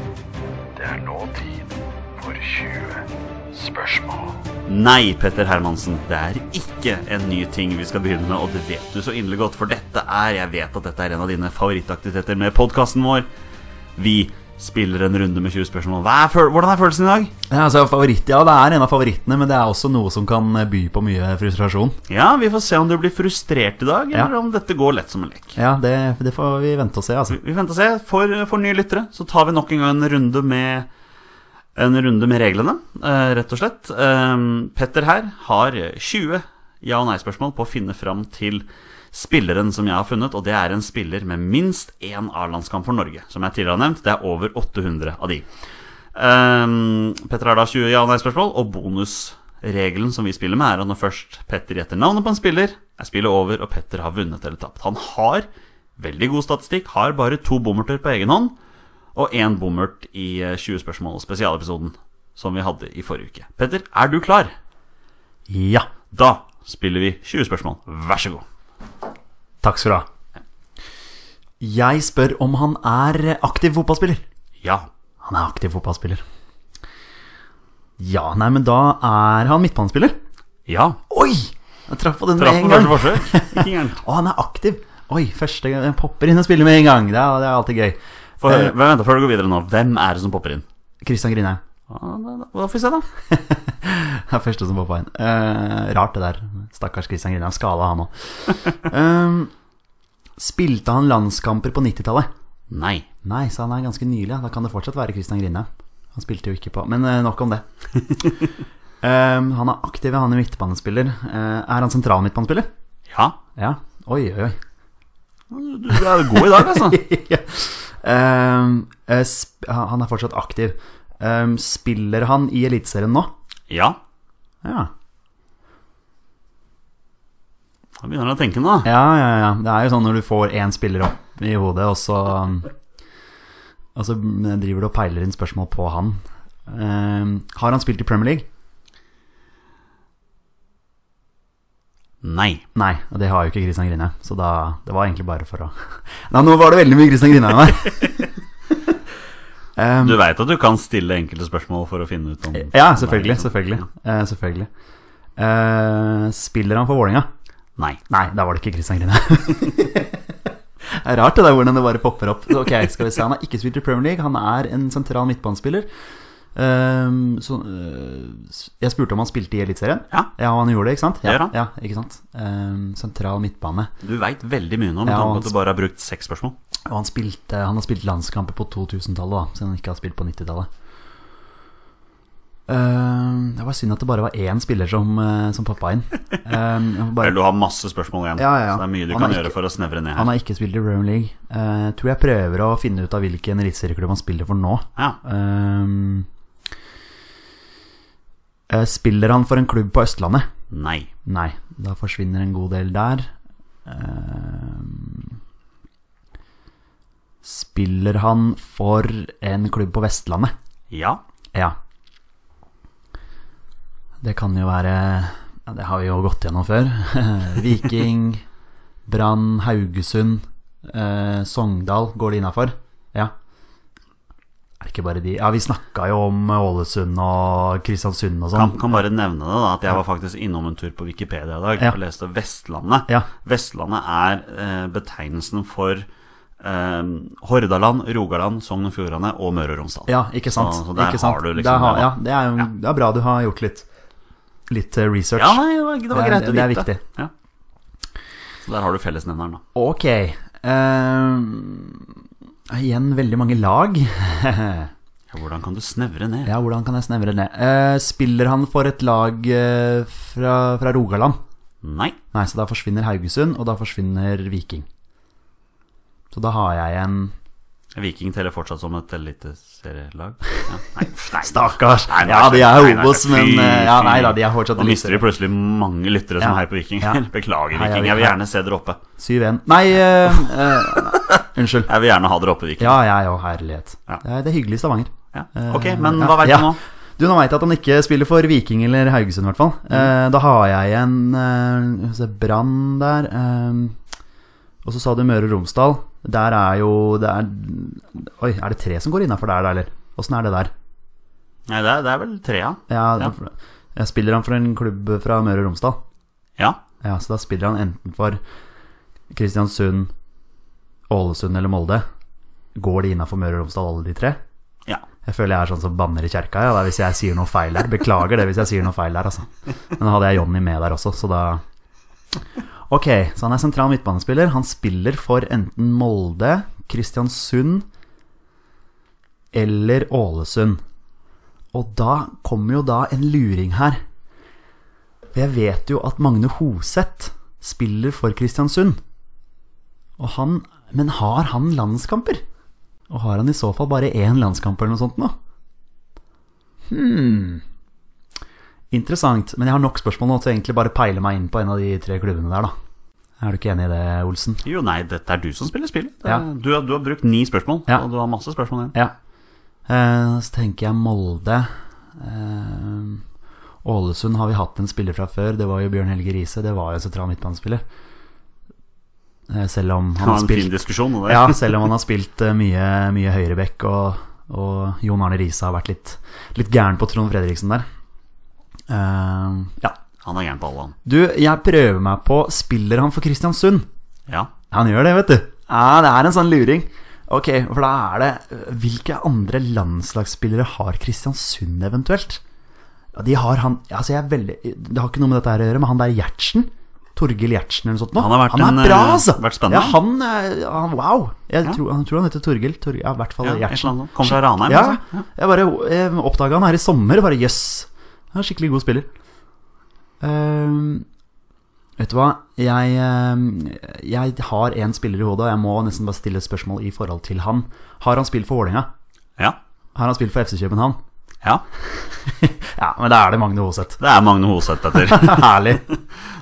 det er nå tid for 20 spørsmål. Nei, Petter Hermansen, det er ikke en ny ting vi skal begynne med, og det vet du så inderlig godt, for dette er Jeg vet at dette er en av dine favorittaktiviteter med podkasten vår. Vi spiller en runde med 20 spørsmål. Hva er føl Hvordan er følelsen i dag? Ja, altså, favoritt, ja, det er en av favorittene, men det er også noe som kan eh, by på mye frustrasjon. Ja, vi får se om du blir frustrert i dag, eller Ja. om dette går lett som en lek. Ja, det, det får vi vente og se, altså. Vi venter og se. For, for nye lyttere så tar vi nok en gang en runde med en runde med reglene, eh, rett og slett. Eh, Petter her har 20 ja- og nei-spørsmål på å finne fram til spilleren som jeg har funnet, og det er en spiller med minst én A-landskamp for Norge. Som jeg tidligere har nevnt, det er over 800 av de. Ehm, Petter har da 20 ja- og nei-spørsmål, og bonusregelen som vi spiller med, er at når først Petter gjetter navnet på en spiller, er spillet over, og Petter har vunnet eller tapt. Han har veldig god statistikk, har bare to bommerter på egen hånd, og én bommert i eh, 20 spørsmål, spesialepisoden som vi hadde i forrige uke. Petter, er du klar? Ja. Da spiller vi 20 spørsmål. Vær så god. Takk skal du ha. Jeg spør om han er aktiv fotballspiller. Ja. Han er aktiv fotballspiller. Ja, nei, men da er han midtbanespiller. Ja. Oi! Jeg traff på den Traff med på en gang. første forsøk. Ikke gærent. Å, han er aktiv. Oi, første gang jeg popper inn og spiller med en gang. Det er, det er alltid gøy. Få høre. Vent, da, før du går videre nå, hvem er det som popper inn? Kristian Grindheim Ja, da, da, da får vi se, da. er første som poppa inn. Eh, rart det der. Stakkars Kristian Grindheim. Skada han òg. Eh, spilte han landskamper på 90-tallet? Nei. Nei, så han er ganske nylig. ja. Da kan det fortsatt være Kristian Grindheim. Han spilte jo ikke på Men eh, nok om det. Eh, han er aktiv, han er midtbanespiller. Eh, er han sentral midtbanespiller? Ja. Ja. Oi, oi, oi. Du, du er god i dag, altså. ja. Ehm, eh, sp han er fortsatt aktiv. Ehm, spiller han i Eliteserien nå? Ja. Ja. Da begynner han å tenke nå. ja, ja, ja. Det er jo sånn når du får én spiller opp i hodet, og så, um, og så driver du og peiler inn spørsmål på han. Ehm, har han spilt i Premier League? Nei. Nei, og det har jo ikke Christian Grine. Så da, det var egentlig bare for å Nei, nå var det veldig mye Christian Grine her. Ehm, Du veit at du kan stille enkelte spørsmål for å finne ut om ja, selvfølgelig. Selvfølgelig. Eh, selvfølgelig. Eh, spiller han for Vålerenga? Nei. Nei, da var det ikke Christian Grine. det er rart det der hvordan det bare popper opp. Ok, skal vi se, Han har ikke spilt i Premier League, han er en sentral midtbanespiller. Ehm, så, øh, s- jeg spurte om han spilte i Eliteserien. Ja. ja, og han gjorde det, ikke sant? Det gjør Ja, han. ja ikke sant? Ehm, sentral midtbane. Du veit veldig mye nå, med Ja, tanke på altså. at han- du bare har brukt seks spørsmål. Og han, spilte, han har spilt landskamper på 2000-tallet, da, siden han ikke har spilt på 90-tallet. Ehm, det var synd at det bare var én spiller som, eh, som poppa inn. Ehm, jeg må bare Eller du har masse spørsmål igjen, Ja, ja, ja. så det er mye du Han kan er ikke- gjøre for å snevre ned Han her. har ikke spilt i Rowan League. Eh, tror jeg prøver å finne ut av hvilken eliteserieklubb han spiller for nå. Ja. Ehm, eh, spiller han for en klubb på Østlandet? Nei. Nei, da forsvinner en god del der. Ehm, spiller han for en klubb på Vestlandet? Ja. Ja. Det kan jo være ja, Det har vi jo gått gjennom før. Viking, Brann, Haugesund, eh, Sogndal. Går det innafor? Ja. Er det ikke bare de Ja, vi snakka jo om Ålesund og Kristiansund og Kan, sånn. kan bare nevne det, da, at jeg var faktisk innom en tur på Wikipedia i dag Ja. og leste Vestlandet. Ja. Vestlandet er eh, betegnelsen for eh, eh, Hordaland, Rogaland, Sogn og Fjordane og Møre og Romsdal. Ja, ikke sant. Så- så der ikke sant? har du liksom Der har, det, da. ja, det, er jo, det er bra du har gjort litt, litt eh, research. Ja, nei, det var, det var Det er- greit å det er vite. viktig. Ja. Så der har du fellesnevneren, da. Ok. eh, igjen veldig mange lag. Ja, hvordan kan du snevre ned? ja, hvordan kan jeg snevre ned? Eh, spiller han for et lag eh, fra, fra Rogaland? Nei. Nei, så da forsvinner Haugesund, og da forsvinner Viking. Så da har jeg en Viking teller fortsatt som et eliteserielag. Ja, nei, nei. Stakkars! Nei, nei, ja, de er nei, nei, Obos, nei, fy, men eh, ja, Nei da, de er fy. fortsatt Nå mister vi elite. plutselig mange lyttere som Ja. heier på Viking. Ja. Beklager, Heia Viking. Jeg vil Viking. gjerne se dere oppe. 7-1. Nei, eh, eh, unnskyld. Jeg vil gjerne ha dere oppe, Viking. Ja, jeg òg, herlighet. Ja. Det er- Det er hyggelig i Stavanger. Ja. Eh, Ok, men ja, hva veit ja. du nå? Du, Nå veit jeg at han ikke spiller for Viking eller Haugesund, i hvert fall. Eh, da har jeg en eh, skal vi se, Brann der. Eh, og så sa du Møre og Romsdal. Der er jo det er, Oi, er det tre som går innafor der, da, eller? Åssen er det der? Nei, det er, det er vel trea. Ja, Ja. Jeg spiller han for en klubb fra Møre og Romsdal. Ja. Ja, Så da spiller han enten for Kristiansund, Ålesund eller Molde. Går de innafor Møre og Romsdal, alle de tre? ja. Jeg føler jeg er sånn som banner i kjerka ja, da, hvis jeg sier noe feil her. Beklager det hvis jeg sier noe feil her, altså. Men da hadde jeg Jonny med der også, så da Ok, så han er sentral midtbanespiller. Han spiller for enten Molde, Kristiansund eller Ålesund. Og da kommer jo da en luring her. For jeg vet jo at Magne Hoseth spiller for Kristiansund. Og han Men har han landskamper? Og har han i så fall bare én landskamp eller noe sånt nå? Hmm. Interessant. Men jeg har nok spørsmål nå til å egentlig bare peile meg inn på en av de tre klubbene der, da. Er du ikke enig i det, Olsen? Jo, nei, dette er du som spiller spillet. Det er- Ja. Du, har- du har brukt ni spørsmål, Ja. og du har masse spørsmål igjen. Ja. Eh, så tenker jeg Molde. Eh, Ålesund har vi hatt en spiller fra før. Det var jo Bjørn Helge Riise. Det var jo en sentral midtbanespiller. Eh, selv om Det han var har en fin spilt diskusjon. Det. der. Ja, selv om han har spilt eh, mye, mye høyrebekk, og, og Jon Arne Riise har vært litt, litt gæren på Trond Fredriksen der. Eh, ja. Han er gæren på alle, han. Du, jeg prøver meg på Spiller han for Kristiansund? Ja. Han gjør det, vet du. Ja, det er en sånn luring. Ok, for da er det eh, Hvilke andre landslagsspillere har Kristiansund eventuelt? Ja, de har han Altså, jeg er veldig Det har ikke noe med dette her å gjøre, men han der Gjertsen Torgill Gjertsen eller noe sånt nå. Han har vært han en, er bra, eh, altså! vært spennende. Ja, han, eh, han Wow! Jeg, Ja. tror, han tror han heter Torgill. Torg- ja, i hvert fall Ja, et eller Gjertsen. annet sånt. Kom fra Ranheim, Ja, altså. Ja. Jeg bare eh, oppdaga han her i sommer. Bare jøss. Han er en skikkelig god spiller. Ehm, vet du hva, jeg, eh, jeg har én spiller i hodet, og jeg må nesten bare stille et spørsmål i forhold til han. Har han spilt for Vålerenga? ja. Har han spilt for FC København? Ja. Ja, men da er det Magne Hoseth. Det er Magne Hoseth, Petter. Herlig.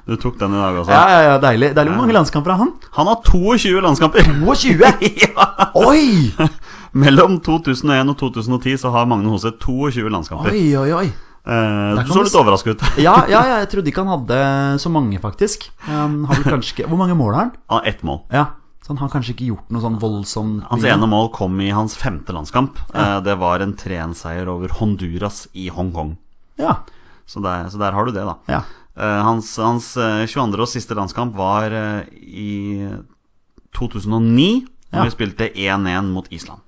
Du tok den i dag også. Ja, ja, ja, deilig. Deilig Hvor mange landskamper har han? Han har 22 landskamper. 22! ja. Oi! Mellom 2001 og 2010 så har Magne Hoseth 22 landskamper. Oi, oi, oi. Eh, Der du så kan du litt s- overrasket ut. Ja, ja, ja, jeg trodde ikke han hadde så mange, faktisk. Han har vel kanskje ikke Hvor mange mål har han? Han har ett mål. Ja, så han har kanskje ikke gjort noe sånn voldsomt Hans mye. ene mål kom i hans femte landskamp. Eh, Det var en 3-1-seier over Honduras i Hongkong. Ja, Så der, så der har du det, da. ja. Eh, Hans, hans eh, 22. og siste landskamp var eh, i 2009, da Ja. vi spilte 1-1 mot Island.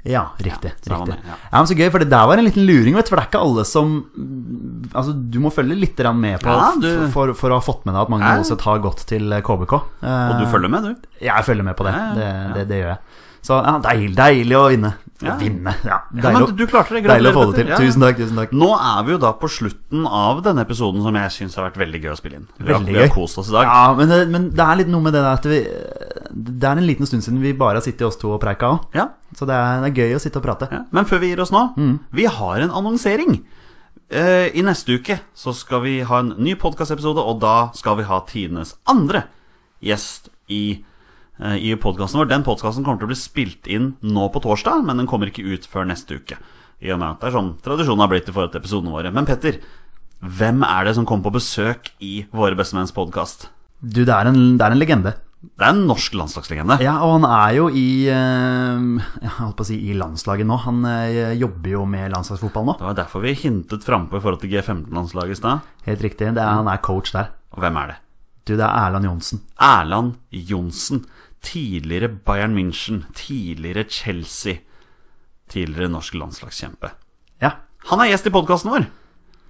Ja, riktig. så da var riktig. det, ja. ja. men Så gøy, for det der var en liten luring, vet du. For det er ikke alle som mm, Altså, du må følge litt grann med på Ja, du- f- for, for å ha fått med deg at Magne Ja. Hoseth har gått til KBK. Og du følger med, du? Eh, Jeg følger med på det. Ja, ja, Det, det, det gjør jeg. Så ja, deilig, deilig å vinne. Ja. Vinne, ja. Ja, Deilig, men du klarte det. å- deilig å Gratulerer, få det til. Petter. Ja, ja. Tusen takk, tusen takk. Nå er vi jo da på slutten av denne episoden som jeg syns har vært veldig gøy å spille inn. Vi har, Veldig vi har gøy. kost oss i dag. Ja, men det, men det er litt noe med det der at vi Det er en liten stund siden vi bare har sittet oss to og preika òg. Ja, Så det er, det er gøy å sitte og prate. ja. Men før vi gir oss nå, Mm. vi har en annonsering. Eh, I neste uke så skal vi ha en ny podkastepisode, og da skal vi ha tidenes andre gjest i, eh, i podkasten vår. Den podkasten kommer til å bli spilt inn nå på torsdag, men den kommer ikke ut før neste uke. I og med at det er sånn tradisjonen har blitt i forhold til episodene våre. Men Petter, hvem er det som kommer på besøk i Våre bestemenns podkast? Du, det er, en, det er en legende. Det er en norsk landslagslegende. Ja, og han er jo i eh, Jeg holdt på å si i landslaget nå. Han eh, jobber jo med landslagsfotball nå. Det var derfor vi hintet frampå i forhold til G15-landslaget i stad. Helt riktig. Det er, han er coach der. Og hvem er det? Du, det er Erland Johnsen. Erland Johnsen. tidligere Bayern München, tidligere Chelsea, tidligere norsk landslagskjempe. Ja. Han er gjest i podkasten vår!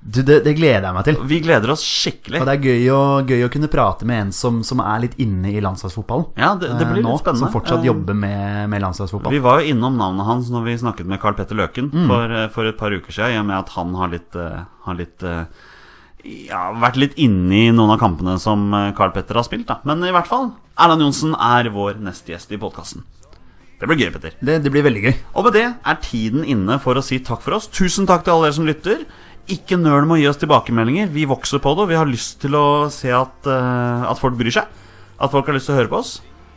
Du, det, det gleder jeg meg til. Vi gleder oss skikkelig. Og det er gøy å, gøy å kunne prate med en som, som er litt inne i landslagsfotballen. Ja, det, det eh, blir nå, litt spennende. Som fortsatt Eh, jobber med, med landslagsfotball. Vi var jo innom navnet hans når vi snakket med Carl Petter Løken for, eh, for et par uker siden, i og med at han har litt, eh, har litt eh, ja, vært litt inne i noen av kampene som eh, Carl Petter har spilt. Da. Men i hvert fall, Erland Johnsen er vår neste gjest i podkasten. Det blir gøy, Petter. Det, det blir veldig gøy. Og med det er tiden inne for å si takk for oss. Tusen takk til alle dere som lytter. Ikke nøl med å gi oss tilbakemeldinger. Vi vokser på det, og vi har lyst til å se at, eh, at folk bryr seg. At folk har lyst til å høre på oss.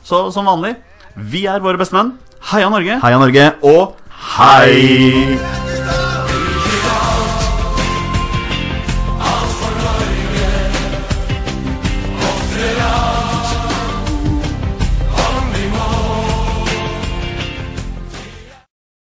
Så som vanlig, vi er våre beste menn. Heia Norge! Heia Norge. og hei!